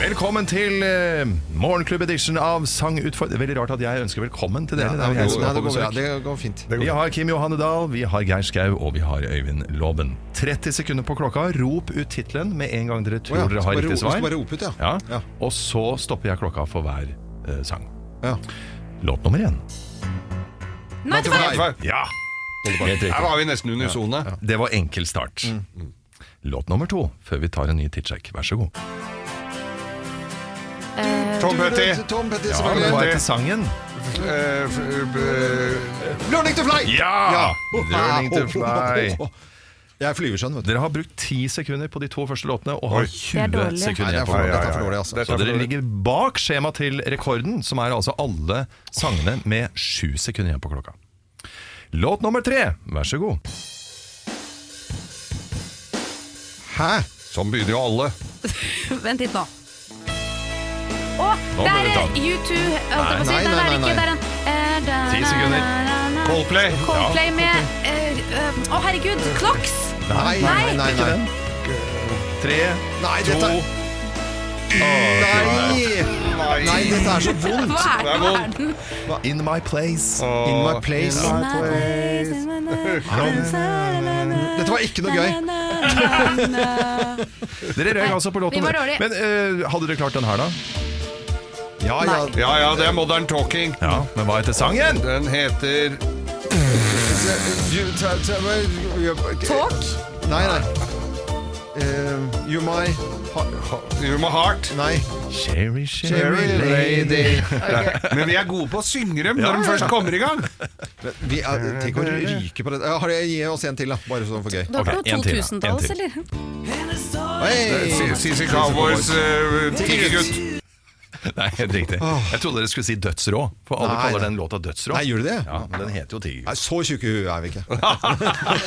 Speaker 4: Velkommen til eh, Morgenklubb edition av Sangutfordring. Veldig rart at jeg ønsker velkommen til dere. det er jo
Speaker 1: Nei,
Speaker 4: jeg som er
Speaker 1: det
Speaker 4: på
Speaker 1: går bra.
Speaker 4: besøk.
Speaker 1: Det går fint.
Speaker 4: Vi har Kim Johanne Dahl, vi har Geir Skau og vi har Øyvind Loven. 30 sekunder på klokka. Rop ut tittelen med en gang dere
Speaker 1: Å
Speaker 4: tror
Speaker 1: ja,
Speaker 4: dere
Speaker 1: skal
Speaker 4: har
Speaker 1: bare ro-
Speaker 4: riktig svar.
Speaker 1: skal bare rope ut, ja.
Speaker 4: ja.
Speaker 1: Ja.
Speaker 4: Og så stopper jeg klokka for hver eh, sang.
Speaker 1: Ja.
Speaker 4: Låt nummer én.
Speaker 2: Nei, det var-
Speaker 3: Her
Speaker 4: Ja! Helt riktig.
Speaker 3: var vi nesten unisone.
Speaker 4: Det var enkel start.
Speaker 1: Mm.
Speaker 4: Låt nummer to før vi tar en ny tidssjekk. Vær så god.
Speaker 3: Eh, Tom Petty.
Speaker 1: Tom Petty,
Speaker 4: Ja, det var
Speaker 1: selvfølgelig.
Speaker 4: etter sangen.
Speaker 3: eh, f- eh,
Speaker 1: Learning to fly!
Speaker 4: Ja! Learning
Speaker 1: *laughs*
Speaker 4: to fly.
Speaker 1: Jeg er flyverskjønn, vet du.
Speaker 4: Dere har brukt 10 sekunder på de to første låtene og har
Speaker 3: Oi.
Speaker 4: 20
Speaker 2: Det er dårlig.
Speaker 4: sekunder
Speaker 1: Nei, det er
Speaker 4: igjen på
Speaker 1: for,
Speaker 4: klokka.
Speaker 1: dette er for dårlig, altså.
Speaker 3: Dette
Speaker 4: Så
Speaker 3: er for
Speaker 4: dere
Speaker 3: dårlig.
Speaker 4: ligger bak skjema til rekorden, som er altså alle sangene med 7 sekunder igjen på klokka. Låt nummer tre, vær så god.
Speaker 1: Hæ?
Speaker 3: Sånn begynner jo alle.
Speaker 2: Vent litt nå. Å,
Speaker 4: Nå
Speaker 2: det
Speaker 4: må
Speaker 2: er
Speaker 4: vi ta den.
Speaker 2: eh, U2 holdt jeg på å si. Nei,
Speaker 1: Nei, nei,
Speaker 2: det er
Speaker 1: nei,
Speaker 2: ikke det er en eh, da, na,
Speaker 4: Ti sekunder.
Speaker 2: na, na, na.
Speaker 3: Coldplay.
Speaker 2: Coldplay med eh, eh, Å, herregud! Clocks!
Speaker 1: Nei, nei, nei.
Speaker 4: Ikke
Speaker 1: Nei,
Speaker 4: den. Tre,
Speaker 1: nei
Speaker 4: to
Speaker 1: dette er Nei! Nei, dette
Speaker 3: *laughs*
Speaker 4: *laughs*
Speaker 1: er så vondt!
Speaker 2: Hva er
Speaker 3: Det er
Speaker 2: det?
Speaker 3: vondt.
Speaker 4: In my place.
Speaker 1: In my place.
Speaker 4: *laughs*
Speaker 1: Dette var ikke noe gøy.
Speaker 4: Dere røyk altså på låt
Speaker 2: vi var
Speaker 4: nummer
Speaker 2: dårlige.
Speaker 4: Men eh, hadde dere klart den her, da?
Speaker 1: Ja, ja.
Speaker 3: Ja ja, det er Modern Talking.
Speaker 4: Ja, men hva heter sangen?
Speaker 3: Den heter
Speaker 1: You- ta- ta-
Speaker 2: Talk?
Speaker 1: Nei, nei. Eh, you my ha, ha,
Speaker 3: You My Heart.
Speaker 1: Nei.
Speaker 4: Sherry, sherry
Speaker 1: Cherry
Speaker 4: lady.
Speaker 1: lady.
Speaker 3: Men vi er gode på å synge dem når de først kommer i gang.
Speaker 1: Vi er, tenk å ryke på det. Ja, Har dere Gi oss en til, da. Bare sånn for gøy.
Speaker 2: Du har
Speaker 4: Ok,
Speaker 2: ikke noe
Speaker 4: en til, da. En
Speaker 2: 2000-talls,
Speaker 4: til.
Speaker 2: eller?
Speaker 1: Hey!
Speaker 3: CC Cowboys eh, Tigergutt.
Speaker 4: *laughs* Nei, helt riktig. Jeg trodde dere skulle si Dødsrå, for alle
Speaker 1: Nei.
Speaker 4: kaller den låta Dødsrå.
Speaker 1: Nei, gjør du det?
Speaker 4: Ja, men den heter jo Tigergutt.
Speaker 1: Nei, så tjukke hu er vi
Speaker 4: *laughs*
Speaker 1: ikke.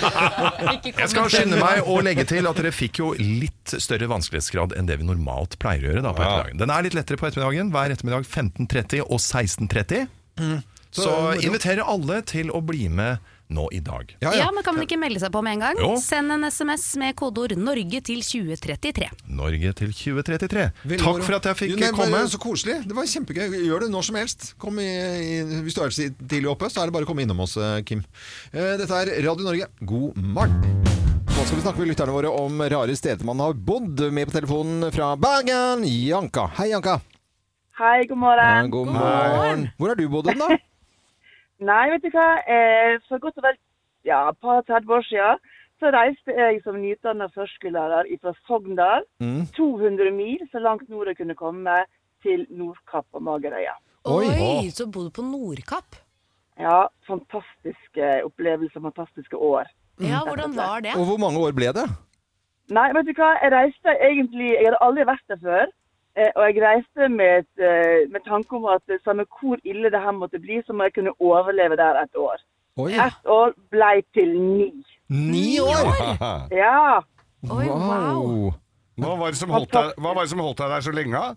Speaker 4: Jeg skal skynde meg å legge til at dere fikk jo litt større vanskelighetsgrad enn det vi normalt pleier å gjøre. da på ettermiddagen. Den er litt lettere på ettermiddagen. Hver ettermiddag 15.30 og 16.30.
Speaker 3: Mm.
Speaker 4: Så,
Speaker 1: Så-
Speaker 4: inviterer alle til å bli med nå i dag.
Speaker 1: Ja,
Speaker 2: Ja,
Speaker 1: ja.
Speaker 2: men kan man ikke melde seg på med en
Speaker 4: Jo.
Speaker 2: gang? Send en SMS med kodeord 'Norge' til 2033.
Speaker 4: Norge til 2033.
Speaker 1: Veldig moro.
Speaker 4: Takk for at jeg fikk
Speaker 1: Jo, nei,
Speaker 4: komme.
Speaker 1: bare Så koselig. Det var kjempegøy. Gjør det når som helst. Kom i, i, hvis du er si- tidlig oppe, så er det bare å komme innom oss, eh, Kim. Eh, Dette er Radio Norge. God morgen. Nå skal vi snakke med lytterne våre om rare steder man har bodd. Med på telefonen fra Bergen, Janka. Hei, Janka.
Speaker 11: Hei, god morgen.
Speaker 1: God morgen. Hvor har du bodd hen, da?
Speaker 11: Nei, vet du hva. Eh, For godt og vel ja, et par 30 år siden så
Speaker 16: Så reiste jeg som nyutdannet førskolelærer fra Sogndal
Speaker 1: Mm.
Speaker 16: 200 mil, så langt nord jeg kunne komme, til Nordkapp og Magerøya.
Speaker 1: Oi.
Speaker 9: Oi, så bor du på Nordkapp.
Speaker 16: Ja, fantastiske opplevelser, fantastiske år.
Speaker 9: Ja, hvordan var det?
Speaker 1: Og hvor mange år ble det?
Speaker 16: Nei, vet du hva, jeg reiste egentlig, jeg hadde aldri vært der før, eh, og jeg reiste med, et, eh, med tanke om at eh, samme hvor ille det her måtte bli, så må jeg kunne overleve der et år.
Speaker 1: Oi.
Speaker 16: Et år ble til ni.
Speaker 1: Ni
Speaker 3: år?
Speaker 16: Ja,
Speaker 1: wow.
Speaker 3: Hva var det som holdt deg, hva var det som holdt deg der så lenge? da?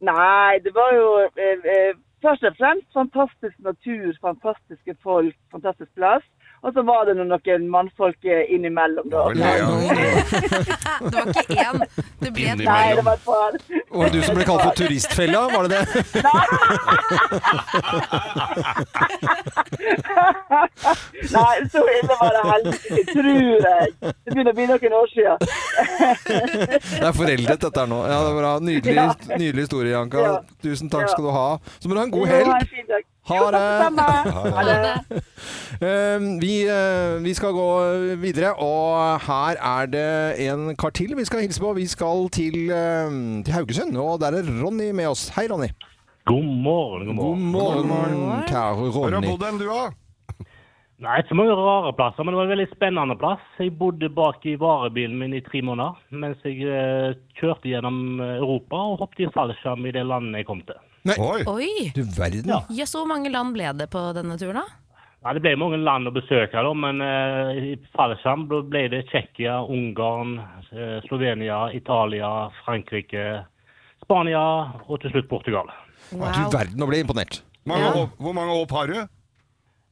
Speaker 16: Nei, det var jo eh, eh, først og fremst fantastisk natur, fantastiske folk, fantastisk plass. Og så var det nå noen mannfolk eh, innimellom,
Speaker 1: Ja,
Speaker 16: da.
Speaker 1: *laughs*
Speaker 16: det var ikke én, det
Speaker 1: ble et par.
Speaker 16: Nei, det var et par.
Speaker 1: *laughs* Var det du som ble kalt for
Speaker 16: *laughs*
Speaker 1: turistfella? Var det det? *laughs*
Speaker 16: *laughs* Nei, så ille var det heldigvis, tror jeg. Det begynner å bli noen år siden.
Speaker 1: *laughs* Det er foreldet dette her nå. Ja, det er bra. Nydelig, nydelig historie, Janka. Tusen takk skal du ha. Så må du ha en god
Speaker 16: Jo, ha en
Speaker 1: helg.
Speaker 16: fin dag.
Speaker 1: Ha
Speaker 16: Jo, takk det
Speaker 1: *laughs* det.
Speaker 16: samme. Ha det.
Speaker 1: Eh, Vi, eh, vi skal gå videre, og her er det en kar til vi skal hilse på. Vi skal til, eh, til Haugesund, og der er Ronny med oss. Hei, Ronny.
Speaker 13: God morgen, god
Speaker 1: morgen. God morgen, kjære
Speaker 3: Hvor har du
Speaker 1: Ronny.
Speaker 3: bodd hen, du, da?
Speaker 13: Nei, ikke så mange rare plasser, men det var en veldig spennende plass. Jeg bodde bak i varebilen min i tre måneder, mens jeg eh, kjørte gjennom Europa og hoppet i fallskjerm i det landet jeg kom til.
Speaker 1: Oi.
Speaker 9: Oi.
Speaker 1: Du verden.
Speaker 4: Ah.
Speaker 9: Ja. så hvor mange land ble det på denne turen, da?
Speaker 13: Nei, det ble mange land å besøke, da, men eh, i fallskjerm da ble det Tsjekkia, Ungarn, eh, Slovenia, Italia, Frankrike, Spania og til slutt Portugal.
Speaker 1: Du verden, nå ble jeg imponert.
Speaker 13: Ja.
Speaker 3: hopp- hvor mange hopp har du?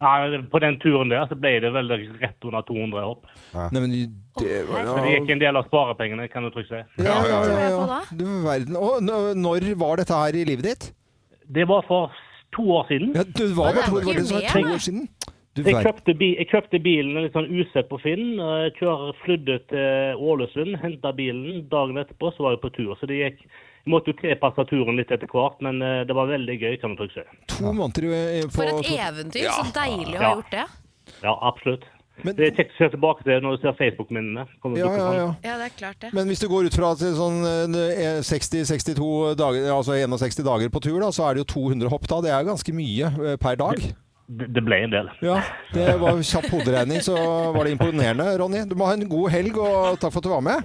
Speaker 13: Nei, på den turen der så ble det vel rett under 200 hopp.
Speaker 1: Nei, men det var
Speaker 13: Men det gikk en del av sparepengene, kan du trygt si.
Speaker 1: Ja, ja, ja, ja. Du verden. Og n- når var dette her i livet ditt?
Speaker 13: Det var for to år siden.
Speaker 1: Ja, du var bare to, var det så to år siden? Du
Speaker 13: jeg,
Speaker 1: verden.
Speaker 13: kjøpte bi jeg kjøpte bilen litt sånn usett på Finn. eh, Kjører, flydde til Ålesund, henta bilen. Dagen etterpå så var jeg på tur. Så det gikk Jeg måtte jo tilpasse turen litt etter hvert, men eh, det var veldig gøy, kan du trygt si.
Speaker 1: To måneder i- på
Speaker 9: For et
Speaker 1: to-
Speaker 9: eventyr! Så deilig å ha
Speaker 13: Ja.
Speaker 9: gjort det.
Speaker 13: Ja, absolutt. det er kjekt å se tilbake til når du ser Facebook-minnene. Kommer sånn. det
Speaker 1: Ja,
Speaker 13: til å
Speaker 1: ja,
Speaker 13: komme.
Speaker 1: ja.
Speaker 9: Ja, det er klart det.
Speaker 1: Men hvis du går ut fra til sånn eh, 60-62 dager, altså 61 dager på tur, da, så er det jo 200 hopp da. Det er jo ganske mye eh, per dag.
Speaker 13: Det, det ble en del.
Speaker 1: Ja, det var kjapp hoderegning, så var det imponerende, Ronny. Du må ha en god helg, og takk for at du var med.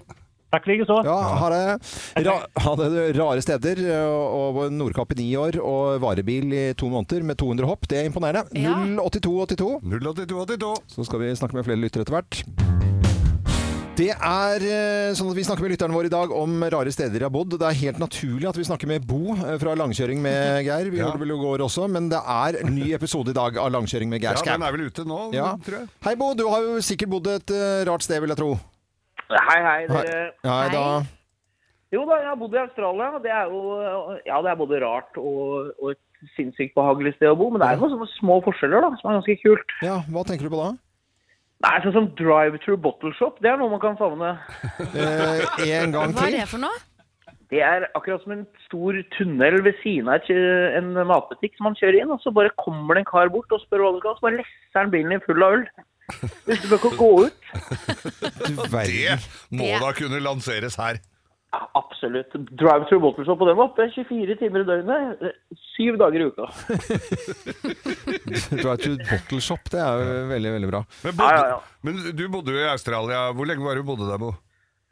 Speaker 13: Takk likeså.
Speaker 1: Ja, ha det. Ra ha det rare steder, og og Nordkapp i ni år, og varebil i to måneder med 200 hopp. Det er imponerende. 08282.
Speaker 3: 08282.
Speaker 1: Så skal vi snakke med flere lyttere etter hvert. Det er eh, sånn at Vi snakker med lytterne våre i dag om rare steder de har bodd. Det er helt naturlig at vi snakker med Bo eh, fra Langkjøring
Speaker 3: *laughs*
Speaker 1: med Geir. Vi gjorde det vel i går også, men det er en ny episode i dag av Langkjøring med
Speaker 3: Ja,
Speaker 1: Geir Skau.
Speaker 3: den er vel ute nå,
Speaker 1: Ja.
Speaker 3: tror jeg.
Speaker 1: Hei, Bo. Du har jo sikkert bodd et eh, rart sted, vil jeg tro.
Speaker 12: Hei, hei.
Speaker 1: Hei.
Speaker 12: Dere.
Speaker 1: Hei, da. *laughs*
Speaker 12: Jo da, jeg har bodd i Australia, og det er jo ja, det er både rart og, og et sinnssykt behagelig sted å bo. Men det er jo noen sånne små forskjeller da, som er ganske kult.
Speaker 1: Ja, Hva tenker du på da?
Speaker 12: Det er sånn som drive-through bottle shop. Det er noe man kan savne.
Speaker 1: Eh, en gang
Speaker 9: Hva er det for noe?
Speaker 12: Det er akkurat som en stor tunnel ved siden av et kjø- en matbutikk som man kjører inn, og så bare kommer det en kar bort og spør hva du skal ha, så bare lesser han bilen din full av øl. Hvis du bør ikke gå ut.
Speaker 3: Det *laughs* må
Speaker 12: Det-
Speaker 3: da kunne lanseres her.
Speaker 12: Absolutt. Drive-through bottle shop, og den var oppe 24 timer i døgnet, eh, syv dager i uka.
Speaker 1: Drive to bottle shop, det er jo veldig, veldig bra.
Speaker 3: Men, bodde, men du bodde jo i Australia. Hvor lenge var du bodde der, Bo?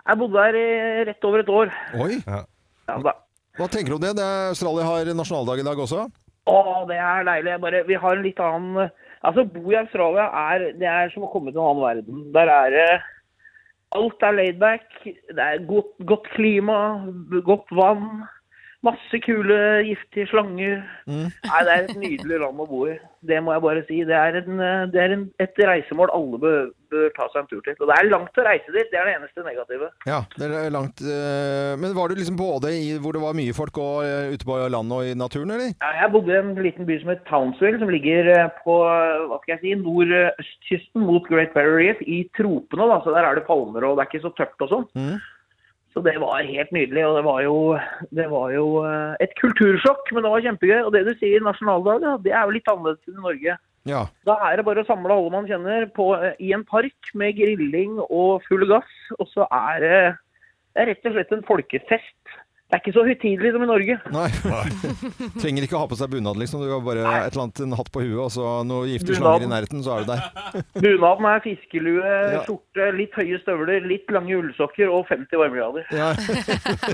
Speaker 12: Jeg bodde der i rett over et år.
Speaker 1: Oi! Hva tenker du om det? det er Australia har nasjonaldag i dag også.
Speaker 12: Å, det er deilig. Jeg bare, vi har en litt annen Altså, å bo i Australia er, det er som å komme til en annen verden. Der er det Alt er laid back. Det er godt, godt klima, b- godt vann. Masse kule, giftige slanger. Nei, det er et nydelig land å bo i. Det må jeg bare si. Det er, en, eh, det er en, et reisemål alle bør, bør ta seg en tur til. Og det er langt å reise dit. Det er det eneste negative.
Speaker 1: Ja, det er langt eh, Men var du liksom både i hvor det var mye folk, og eh, ute på landet og i naturen, eller?
Speaker 12: Ja, Jeg bodde i en liten by som het Townsville, som ligger eh, på eh, hva skal jeg si, nordøstkysten mot Great Barrier Reef, i tropene. da, så Der er det palmer, og det er ikke så tørt og sånn.
Speaker 1: Mm.
Speaker 12: Så det var helt nydelig. Og det var jo, det var jo eh, et kultursjokk, men det var kjempegøy. Og det du sier nasjonaldag, da, det er jo litt annerledes enn i Norge.
Speaker 1: Ja.
Speaker 12: Da er det bare å samle alle man kjenner på, eh, i en park med grilling og full gass. Og så er det, det er rett og slett en folkefest. Det er ikke så høytidelig som i Norge.
Speaker 1: Nei. *laughs* Trenger ikke å ha på seg bunad, liksom. Du har bare et eller annet, en hatt på huet og så noen gifte
Speaker 12: Bunad.
Speaker 1: slanger i nærheten, så er du der.
Speaker 12: Bunaden er fiskelue,
Speaker 1: Ja.
Speaker 12: skjorte, litt høye støvler, litt lange ullsokker og 50 varmegrader.
Speaker 1: Ja. *laughs*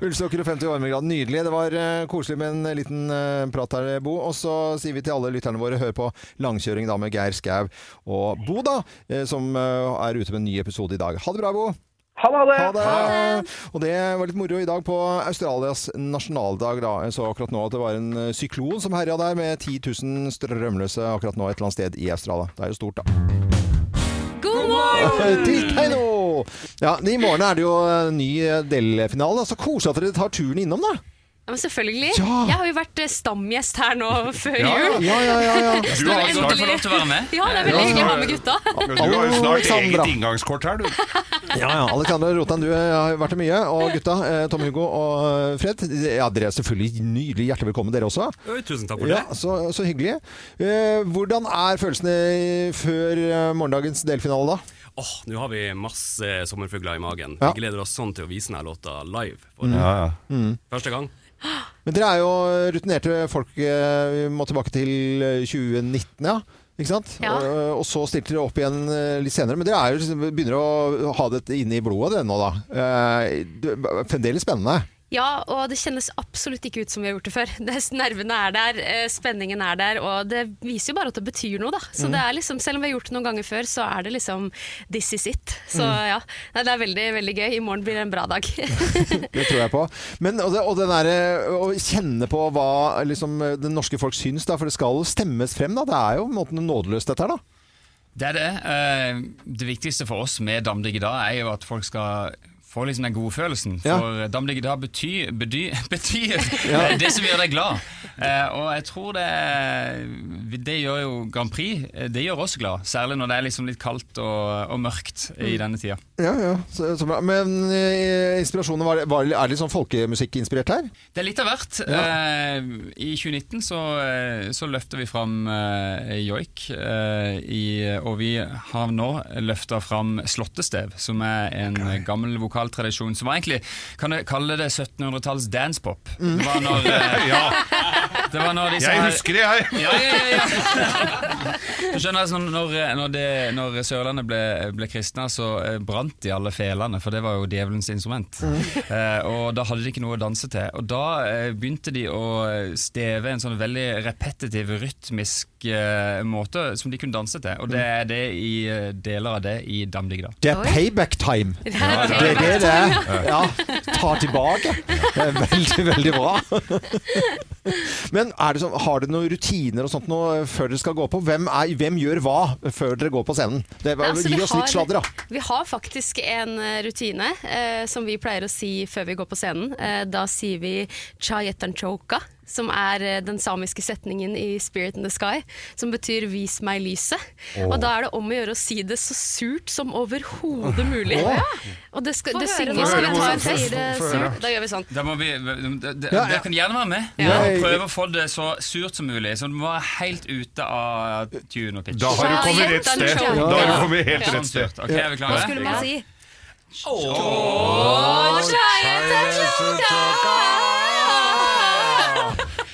Speaker 1: Ullstokker og 50 varmegrad. Nydelig. Det var eh, koselig med en liten eh, prat her, Bo. Og så sier vi til alle lytterne våre, hør på Langkjøring da med Geir Skau og Bo, da, eh, som eh, er ute med en ny episode i dag. Ha det bra, Bo.
Speaker 12: Ha det!
Speaker 1: Og det var litt moro i dag på Australias nasjonaldag. Da. Jeg så akkurat nå at det var en eh, syklon som herja der, med 10 000 strømløse akkurat nå et eller annet sted i Australia. Det er jo stort, da.
Speaker 7: God
Speaker 1: Til deg nå! Ja, I morgen er det jo eh, ny eh, delfinale. da. Så koselig at dere tar turen innom, da.
Speaker 14: Ja, men selvfølgelig. Jeg har jo vært eh, stamgjest her nå før
Speaker 1: Ja,
Speaker 14: jul.
Speaker 1: ja, ja, ja,
Speaker 14: *laughs*
Speaker 1: Eh. ja.
Speaker 14: Så
Speaker 1: Du
Speaker 14: det er
Speaker 1: har
Speaker 14: veldig-
Speaker 1: snart fått lov til å være med.
Speaker 14: Ja, det er veldig
Speaker 1: Ja.
Speaker 14: hyggelig å ha med gutta.
Speaker 3: Men Du har jo snart
Speaker 1: Alexandra.
Speaker 3: eget inngangskort her, du.
Speaker 1: Ja, ja. Alexandra Rotan, du eh, har vært der mye. Og gutta, eh, Tom Hugo og eh, Fred, ja, dere er selvfølgelig nydelig hjertelig velkommen, dere også.
Speaker 17: Oi, Tusen takk for
Speaker 1: Ja,
Speaker 17: det.
Speaker 1: så, så hyggelig. Eh, hvordan er følelsene i- før eh, morgendagens delfinale, da?
Speaker 17: Åh, Nå har vi masse sommerfugler i magen.
Speaker 1: Ja.
Speaker 17: Vi gleder oss sånn til å vise denne låta live.
Speaker 1: Mm.
Speaker 17: For
Speaker 1: Ja, ja. Mm.
Speaker 17: Første gang.
Speaker 1: Men dere er jo rutinerte folk. eh, Vi må tilbake til eh, 2019, ja. Ikke sant?
Speaker 2: Ja.
Speaker 1: Eh, Og så stilte dere opp igjen eh, litt senere. Men dere er jo, begynner å ha det inne i blodet det nå, da. Eh, det er Fremdeles spennende.
Speaker 14: Ja, og det kjennes absolutt ikke ut som vi har gjort det før. Det, nervene er der, eh, spenningen er der, og det viser jo bare at det betyr noe, da. Så
Speaker 1: Mm.
Speaker 14: det er liksom, selv om vi har gjort det noen ganger før, så er det liksom this is it. Så
Speaker 1: Mm.
Speaker 14: ja, Nei, det er veldig, veldig gøy. I morgen blir det en bra dag. *laughs*
Speaker 1: Det tror jeg på. Men, og det, og den der, eh, å kjenne på hva liksom, eh, det norske folk syns, da, for det skal stemmes frem. Da. Det er jo på en måte nådeløst, dette her. da.
Speaker 18: Det er det. Eh, Det viktigste for oss med Damdigge da er jo at folk skal få liksom den gode følelsen.
Speaker 1: Ja.
Speaker 18: For eh, Damdigge da betyr, bedy, *laughs* betyr
Speaker 1: Ja.
Speaker 18: eh, *laughs* det som gjør deg glad. Eh, Og jeg tror det Det gjør jo Grand Prix eh, Det gjør oss glad. Særlig når det er liksom litt kaldt og, og mørkt
Speaker 1: Mm.
Speaker 18: i denne tida.
Speaker 1: Ja, ja, så, så bra. Men eh, inspirasjonen var, var Er det litt sånn folkemusikkinspirert her?
Speaker 18: Det er litt av hvert. Eh, I 2019 så, eh, så løfter vi fram eh, joik, eh, i, og vi har nå løfta fram slottestev, som er en eh, gammel vokaltradisjon som var egentlig Kan jeg kalle det 1700-talls dancepop? Det
Speaker 3: Mm.
Speaker 18: var når,
Speaker 3: *laughs*
Speaker 18: eh, det var når disse
Speaker 3: Jeg
Speaker 18: her-
Speaker 3: husker det, jeg.
Speaker 18: Ja, ja, ja, ja. Du skjønner, altså, når, når, det, når Sørlandet ble, ble kristna, så eh, brant de alle felene, for det var jo djevelens instrument.
Speaker 1: Mm.
Speaker 18: Eh, og da hadde de ikke noe å danse til. Og da eh, begynte de å steve en sånn veldig repetitiv, rytmisk eh, måte som de kunne danse til. Og det er det i eh, deler av det i Damdigda.
Speaker 1: Det er payback
Speaker 14: *laughs*
Speaker 1: time.
Speaker 18: Det
Speaker 1: Det
Speaker 18: er
Speaker 1: er det det
Speaker 18: payback time,
Speaker 1: er.
Speaker 18: ja.
Speaker 1: Ja, ta tilbake. Det er veldig, veldig bra. *laughs* Men er det sånn, har dere noen rutiner og sånt nå eh, før dere skal gå på? Hvem, er, hvem gjør hva før dere går på scenen? Det,
Speaker 14: Nei, altså,
Speaker 1: gi
Speaker 14: vi
Speaker 1: oss
Speaker 14: har-
Speaker 1: litt sladder, da.
Speaker 14: Vi har faktisk en eh, rutine eh, som vi pleier å si før vi går på scenen. Eh, da sier vi chayetanchoka, som er eh, den samiske setningen i Spirit in the Sky, som betyr 'vis meg lyset'.
Speaker 19: Åh.
Speaker 14: Og da er det om å gjøre å si det så surt som overhodet mulig.
Speaker 18: Åh.
Speaker 14: Og det, skal,
Speaker 19: Få
Speaker 14: det
Speaker 19: høre
Speaker 14: synger
Speaker 19: nå. Få
Speaker 14: Skal vi
Speaker 19: høre
Speaker 14: ta
Speaker 19: hvordan-
Speaker 14: en sier det
Speaker 18: få høre.
Speaker 14: surt? Da gjør vi sånn.
Speaker 18: Da må vi, det, det,
Speaker 14: Ja, ja.
Speaker 18: Dere kan gjerne være med.
Speaker 14: Ja.
Speaker 18: Og Prøve å få det så surt som mulig. Så du må være helt ute av tune og pitch.
Speaker 3: Da har du kommet rett sted. Da har du kommet helt rett sted.
Speaker 18: Sånn surt. Ok, er vi klare?
Speaker 14: Hva skulle man si?
Speaker 18: Åh,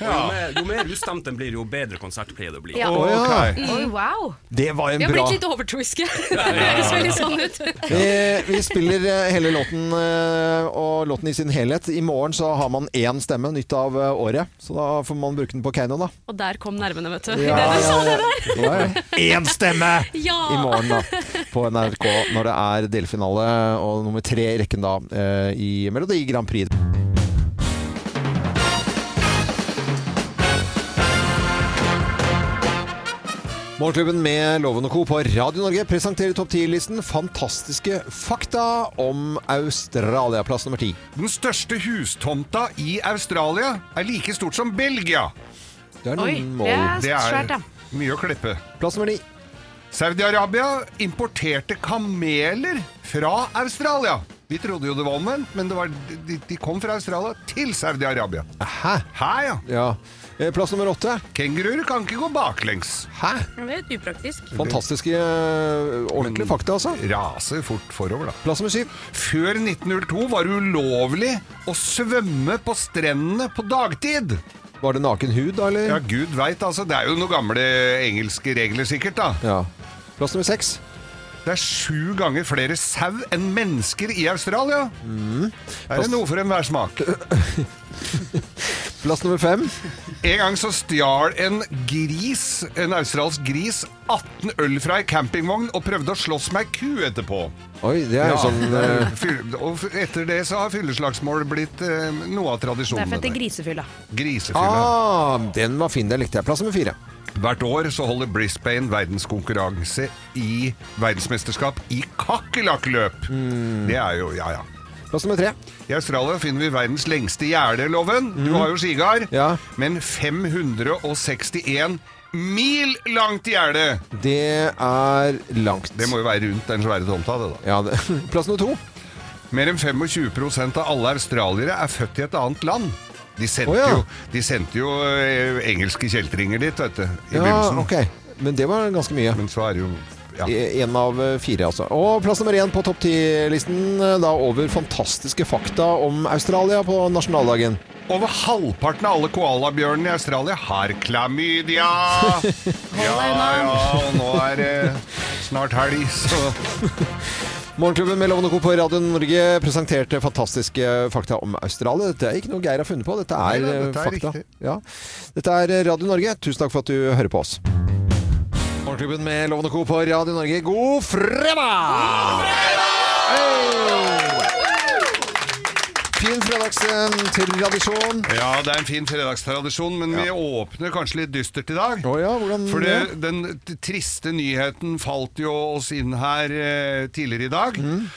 Speaker 17: Jo, mer, jo mer ustemt den blir, jo bedre konsert pleier det å bli.
Speaker 14: Ja.
Speaker 1: Ok.
Speaker 14: Oi, wow.
Speaker 1: Det var en
Speaker 14: Vi har
Speaker 1: bra
Speaker 14: blitt litt overtroiske.
Speaker 1: *laughs*
Speaker 14: Det *laughs* høres veldig sånn ut.
Speaker 1: Vi, vi spiller eh, hele låten eh, og låten i sin helhet. I morgen så har man én stemme nytt av eh, året, så da får man bruke den på Keiino, da.
Speaker 14: Og der kom nervene, vet du.
Speaker 1: Ja,
Speaker 14: Ja, det du sa det der.
Speaker 1: Ja, ja.
Speaker 3: *laughs*
Speaker 14: *laughs*
Speaker 1: Én stemme
Speaker 14: Ja.
Speaker 1: i morgen da, på NRK når det er delfinale og nummer tre i rekken da eh, i Melodi Grand Prix. Morgenklubben med Loven og Co. på Radio Norge presenterer topp 10-listen fantastiske fakta om Australia. Plass nummer ti.
Speaker 3: Den største hustomta i Australia er like stort som Belgia.
Speaker 1: Det er noen Oi, mål. det er svært, ja.
Speaker 3: mye å klippe.
Speaker 1: Plass nummer ni.
Speaker 3: Saudi-Arabia importerte kameler fra Australia. Vi trodde jo det var omvendt, men det var, de, de kom fra Australia til Saudi-Arabia.
Speaker 1: Hæ?
Speaker 3: Hæ, ja.
Speaker 1: Eh, Plass nummer åtte.
Speaker 3: Kenguruer kan ikke gå baklengs.
Speaker 1: Hæ?
Speaker 2: Det er litt upraktisk.
Speaker 1: Fantastiske, eh, ordentlige fakta, altså.
Speaker 3: Raser fort forover, da.
Speaker 1: Plass nummer syv.
Speaker 3: Før 1902 var det ulovlig å svømme på strendene på dagtid.
Speaker 1: Var det naken hud, da, eller?
Speaker 3: Ja, gud veit, altså. Det er jo noen gamle engelske regler, sikkert, da.
Speaker 1: Plass nummer seks.
Speaker 3: Det er sju ganger flere sau enn mennesker i Australia.
Speaker 1: Mm.
Speaker 3: Er det noe for enhver smak?
Speaker 1: *laughs* Plass nummer fem.
Speaker 3: En gang så stjal en gris, en australsk gris, 18 øl fra ei campingvogn og prøvde å slåss med ei ku etterpå.
Speaker 1: Oi, det er jo sånn
Speaker 3: *laughs*
Speaker 1: eh,
Speaker 3: fyll- Og f- etter det så har fylleslagsmål blitt eh, noe av
Speaker 9: Det er
Speaker 3: tradisjonen.
Speaker 9: for at det er grisefylla.
Speaker 3: Grisefylla.
Speaker 1: ah, Den var fin, den likte jeg. Plass nummer fire.
Speaker 3: Hvert år så holder Brisbane verdenskonkurranse i verdensmesterskap i kakerlakkløp.
Speaker 1: Mm.
Speaker 3: Det er jo Ja, ja.
Speaker 1: Plass nummer tre.
Speaker 3: I Australia finner vi verdens lengste gjerde, Loven. Du har
Speaker 1: Mhm.
Speaker 3: jo skigard. Men 561 mil langt gjerde!
Speaker 1: Det er langt.
Speaker 3: Det må jo være rundt den svære tomta, det, da.
Speaker 1: *laughs* Plass nummer to.
Speaker 3: Mer enn 25 av alle australiere er født i et annet land. De sendte,
Speaker 1: Å, ja.
Speaker 3: jo, de sendte jo eh, engelske kjeltringer dit, vet du. I
Speaker 1: Ja,
Speaker 3: begynnelsen.
Speaker 1: ok. Men det var ganske mye.
Speaker 3: Men så er det jo
Speaker 1: Én av eh, fire, altså. Og plass nummer én på topp ti-listen eh, da over fantastiske fakta om Australia på nasjonaldagen.
Speaker 3: Over halvparten av alle koalabjørnene i Australia har klamydia! Ja, ja, og nå er det snart helg, så
Speaker 1: Morgenklubben med Lovende Co. på Radio Norge presenterte fantastiske fakta om Australia. Dette er ikke noe Geir har funnet på, dette er,
Speaker 3: Nei, da,
Speaker 1: eh,
Speaker 3: dette er
Speaker 1: fakta.
Speaker 3: riktig.
Speaker 1: Ja. Dette er eh, Radio Norge. Tusen takk for at du hører på oss. Morgenklubben med Lovende Co. på Radio Norge, god fredag! Fin fredagstradisjon.
Speaker 3: Ja, det er en fin fredagstradisjon, men vi åpner kanskje litt dystert i dag.
Speaker 1: Å ja, hvordan
Speaker 3: For det, den t- triste nyheten falt jo oss inn her eh, tidligere i dag.
Speaker 1: Mm.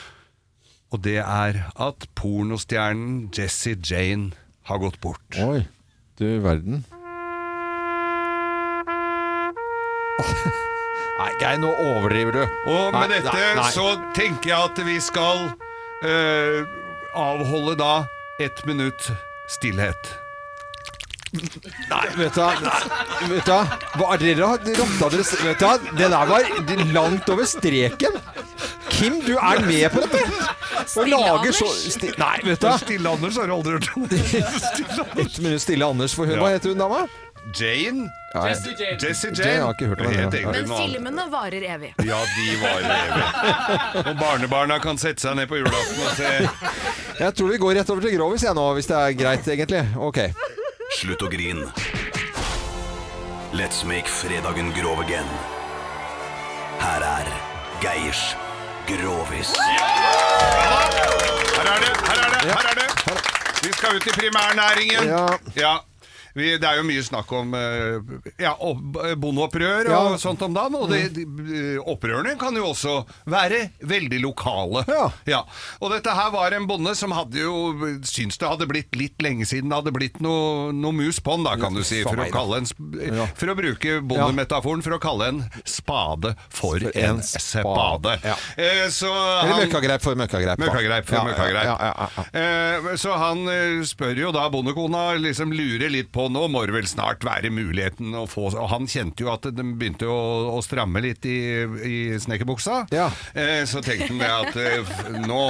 Speaker 3: Og det er at pornostjernen Jesse Jane har gått bort.
Speaker 1: Oi, du verden. Nei, Geir, nå overdriver du.
Speaker 3: Og med
Speaker 1: Nei,
Speaker 3: dette
Speaker 1: nei, nei.
Speaker 3: så tenker jeg at vi skal eh, avholde da ett minutt stillhet.
Speaker 1: Nei, vet du hva? Nei, Vet du hva? Hva er dere har rotta deres Vet du hva? Det der var langt over streken. Kim, du er med på dette. Og lager så sti, Nei, vet du hva?
Speaker 3: Stille Anders har du aldri hørt om.
Speaker 1: *laughs* Ett minutt stille, Anders. For hun, Hva heter hun dama?
Speaker 3: Jane?
Speaker 1: Ja, ja.
Speaker 3: Jesse Jane. Jesse
Speaker 1: Det har jeg ikke hørt om.
Speaker 3: Det heter
Speaker 1: ja.
Speaker 3: egentlig
Speaker 9: Men
Speaker 3: noe annet.
Speaker 9: filmene varer evig.
Speaker 3: Ja, de var
Speaker 1: *laughs*
Speaker 3: evig. Og barnebarna kan sette seg ned på julaften og se
Speaker 1: Jeg tror vi går rett over til Grovis jeg nå, hvis det er greit, egentlig. Ok.
Speaker 15: Slutt å grin. Let's make fredagen grov again. Her er Geirs Grovis.
Speaker 3: Her er det, her er det, her er det. Vi skal ut i primærnæringen.
Speaker 1: Ja.
Speaker 3: Vi, det er jo mye snakk om eh, ja, opp- bondeopprør og
Speaker 1: Ja. Mm.
Speaker 3: sånt om dagen. Og det, de, eh, opprørene kan jo også være veldig lokale. Ja. Og dette her var en bonde som hadde jo syntes det hadde blitt litt lenge siden det hadde blitt noe, noe mus på'n, da, kan du si.
Speaker 1: for
Speaker 3: For å,
Speaker 1: meg, da.
Speaker 3: kalle en, sp- for å bruke bondemetaforen, for å kalle en spade for, en spade. Eh, så
Speaker 1: Eller
Speaker 3: han-
Speaker 1: møkkagreip for møkkagreip. da.
Speaker 3: Møkkagreip for
Speaker 1: Ja, ja,
Speaker 3: møkkagreip.
Speaker 1: Ja, ja, ja.
Speaker 3: Eh, Så han eh, spør jo da bondekona, liksom lurer litt på nå må det vel snart være muligheten å få Og han kjente jo at de begynte å, å stramme litt i, i snekkerbuksa. Eh, Så tenkte han det at eh, f- nå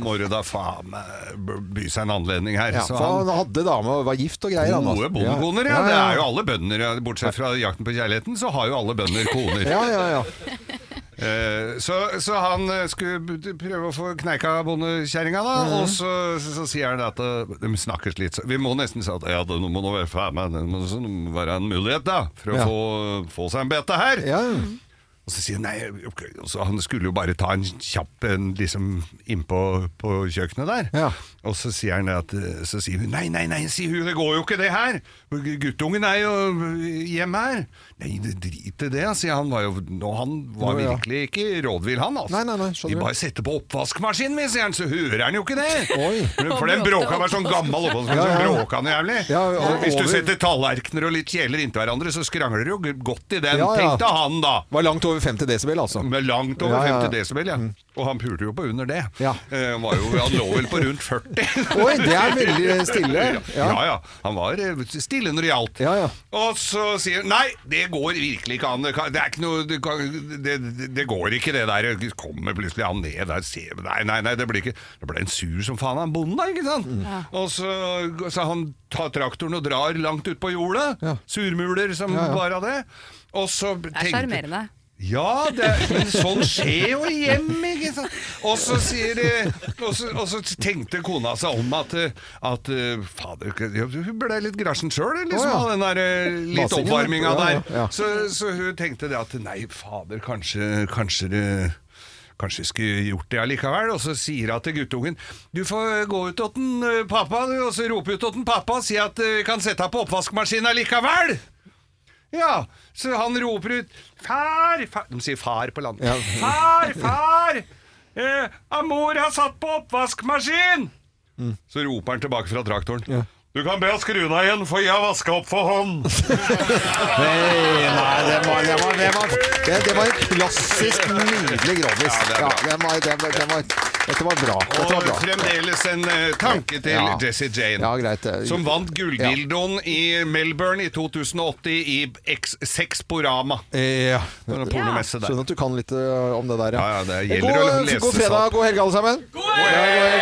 Speaker 3: må du da faen meg b- by seg en anledning her.
Speaker 1: Ja,
Speaker 3: Så
Speaker 1: for han hadde dame og var gift og greier. han, altså.
Speaker 3: Gode bondekoner, ja.
Speaker 1: Ja, ja,
Speaker 3: Det
Speaker 1: ja.
Speaker 3: er jo alle bønder. ja. Bortsett fra Jakten på kjærligheten, så har jo alle bønder koner.
Speaker 1: Ja, ja, ja.
Speaker 3: Eh, Så, så han eh, skulle b- prøve å få kneika bondekjerringa, da.
Speaker 1: Mhm.
Speaker 3: Og så, så, så sier han at eh, de snakkes litt så- Vi må nesten si at ja, det må nå være, faen meg, det må sånn være en mulighet, da, for å
Speaker 1: Ja.
Speaker 3: få, få seg en bete her. Og så sier han nei, ok, og så han skulle jo bare ta en kjapp en liksom innpå på kjøkkenet der. Og så sier han det at eh, Så sier hun nei, nei, nei, sier hun, det går jo ikke det her! Guttungen er jo hjemme her! Nei, det drit i det, sier han. Var jo, nå, han var
Speaker 1: Ja, ja.
Speaker 3: virkelig ikke rådvill, han altså.
Speaker 1: Nei, nei, nei,
Speaker 3: Vi
Speaker 1: skjønner
Speaker 3: bare
Speaker 1: du.
Speaker 3: setter på oppvaskmaskinen, vi, sier han, så hører han jo ikke det!
Speaker 1: Oi.
Speaker 3: For, for den bråka var sånn gammel oppvaskmaskin,
Speaker 1: Ja, ja.
Speaker 3: så bråka han jævlig.
Speaker 1: og
Speaker 3: Hvis du
Speaker 1: over.
Speaker 3: setter tallerkener og litt kjeler inntil hverandre, så skrangler du jo godt i den.
Speaker 1: Ja, ja.
Speaker 3: Tenk deg han, da!
Speaker 1: Var langt over over 50 desibel, altså.
Speaker 3: Med langt over 50 desibel, ja. Og han pulte jo på under det. Eh, han, var jo, han lå vel på rundt 40.
Speaker 1: Oi, det er veldig stille.
Speaker 3: *laughs* Ja,
Speaker 1: Ja.
Speaker 3: ja. ja. Han var eh, stille når det gjaldt. Og så sier han nei, det går virkelig ikke an. Det, kan- det er ikke noe det, kan, det, det- det går ikke, det der. Det Kommer plutselig han ned der ser vi- Nei, nei, nei, det blir ikke Det ble en sur som faen, han bonden, da, ikke sant?
Speaker 4: Ja.
Speaker 3: Og så, så han tar traktoren og drar langt ut på jordet. Surmuler som
Speaker 2: Ja, ja.
Speaker 3: bare av det. Og så
Speaker 2: Det er
Speaker 3: tenkte
Speaker 2: sjarmerende.
Speaker 3: ja, det, men sånn skjer jo hjem, ikke sant? Og så, sier, eh, og, så, og så tenkte kona seg om at, eh, at eh, Fader, hun ble litt grasjen sjøl, liksom,
Speaker 4: Å, ja.
Speaker 3: av den der eh, litt
Speaker 4: Masingen,
Speaker 3: oppvarminga
Speaker 4: ja,
Speaker 3: der.
Speaker 4: ja, ja.
Speaker 3: Så, så hun tenkte det at nei, fader, kanskje, kanskje det Kanskje jeg skulle gjort det allikevel, og så sier hun til guttungen Du får gå ut til den eh, pappa, du, og så rope ut til den pappa og si at eh, vi kan sette deg på oppvaskmaskinen allikevel! Ja, så han roper ut Far, far De sier far på landet Far, far eh, Amor har satt på oppvaskmaskin Så roper han tilbake fra traktoren Du kan be å skru deg igjen For jeg har vasket opp for hånd
Speaker 4: *laughs*
Speaker 1: Nei, nei, det var, det var, det var, det, det var en klassisk nydelig grovis. Ja, den var, den var, den var, dette var bra. Dette var
Speaker 3: Og
Speaker 1: bra.
Speaker 3: fremdeles en eh, tanke til
Speaker 1: Ja.
Speaker 3: Jesse Jane
Speaker 1: Ja, greit.
Speaker 3: Som vant gulldildoen i Melbourne i 2080 I X- Sexporama
Speaker 1: Ja.
Speaker 3: Det var en pornomesse der.
Speaker 1: Skjønner at du kan litt ø, eh, om det der,
Speaker 3: Ja, ja, det gjelder å
Speaker 1: god,
Speaker 3: lese
Speaker 1: god fredag,
Speaker 3: sant.
Speaker 1: god helg, alle sammen. God helg!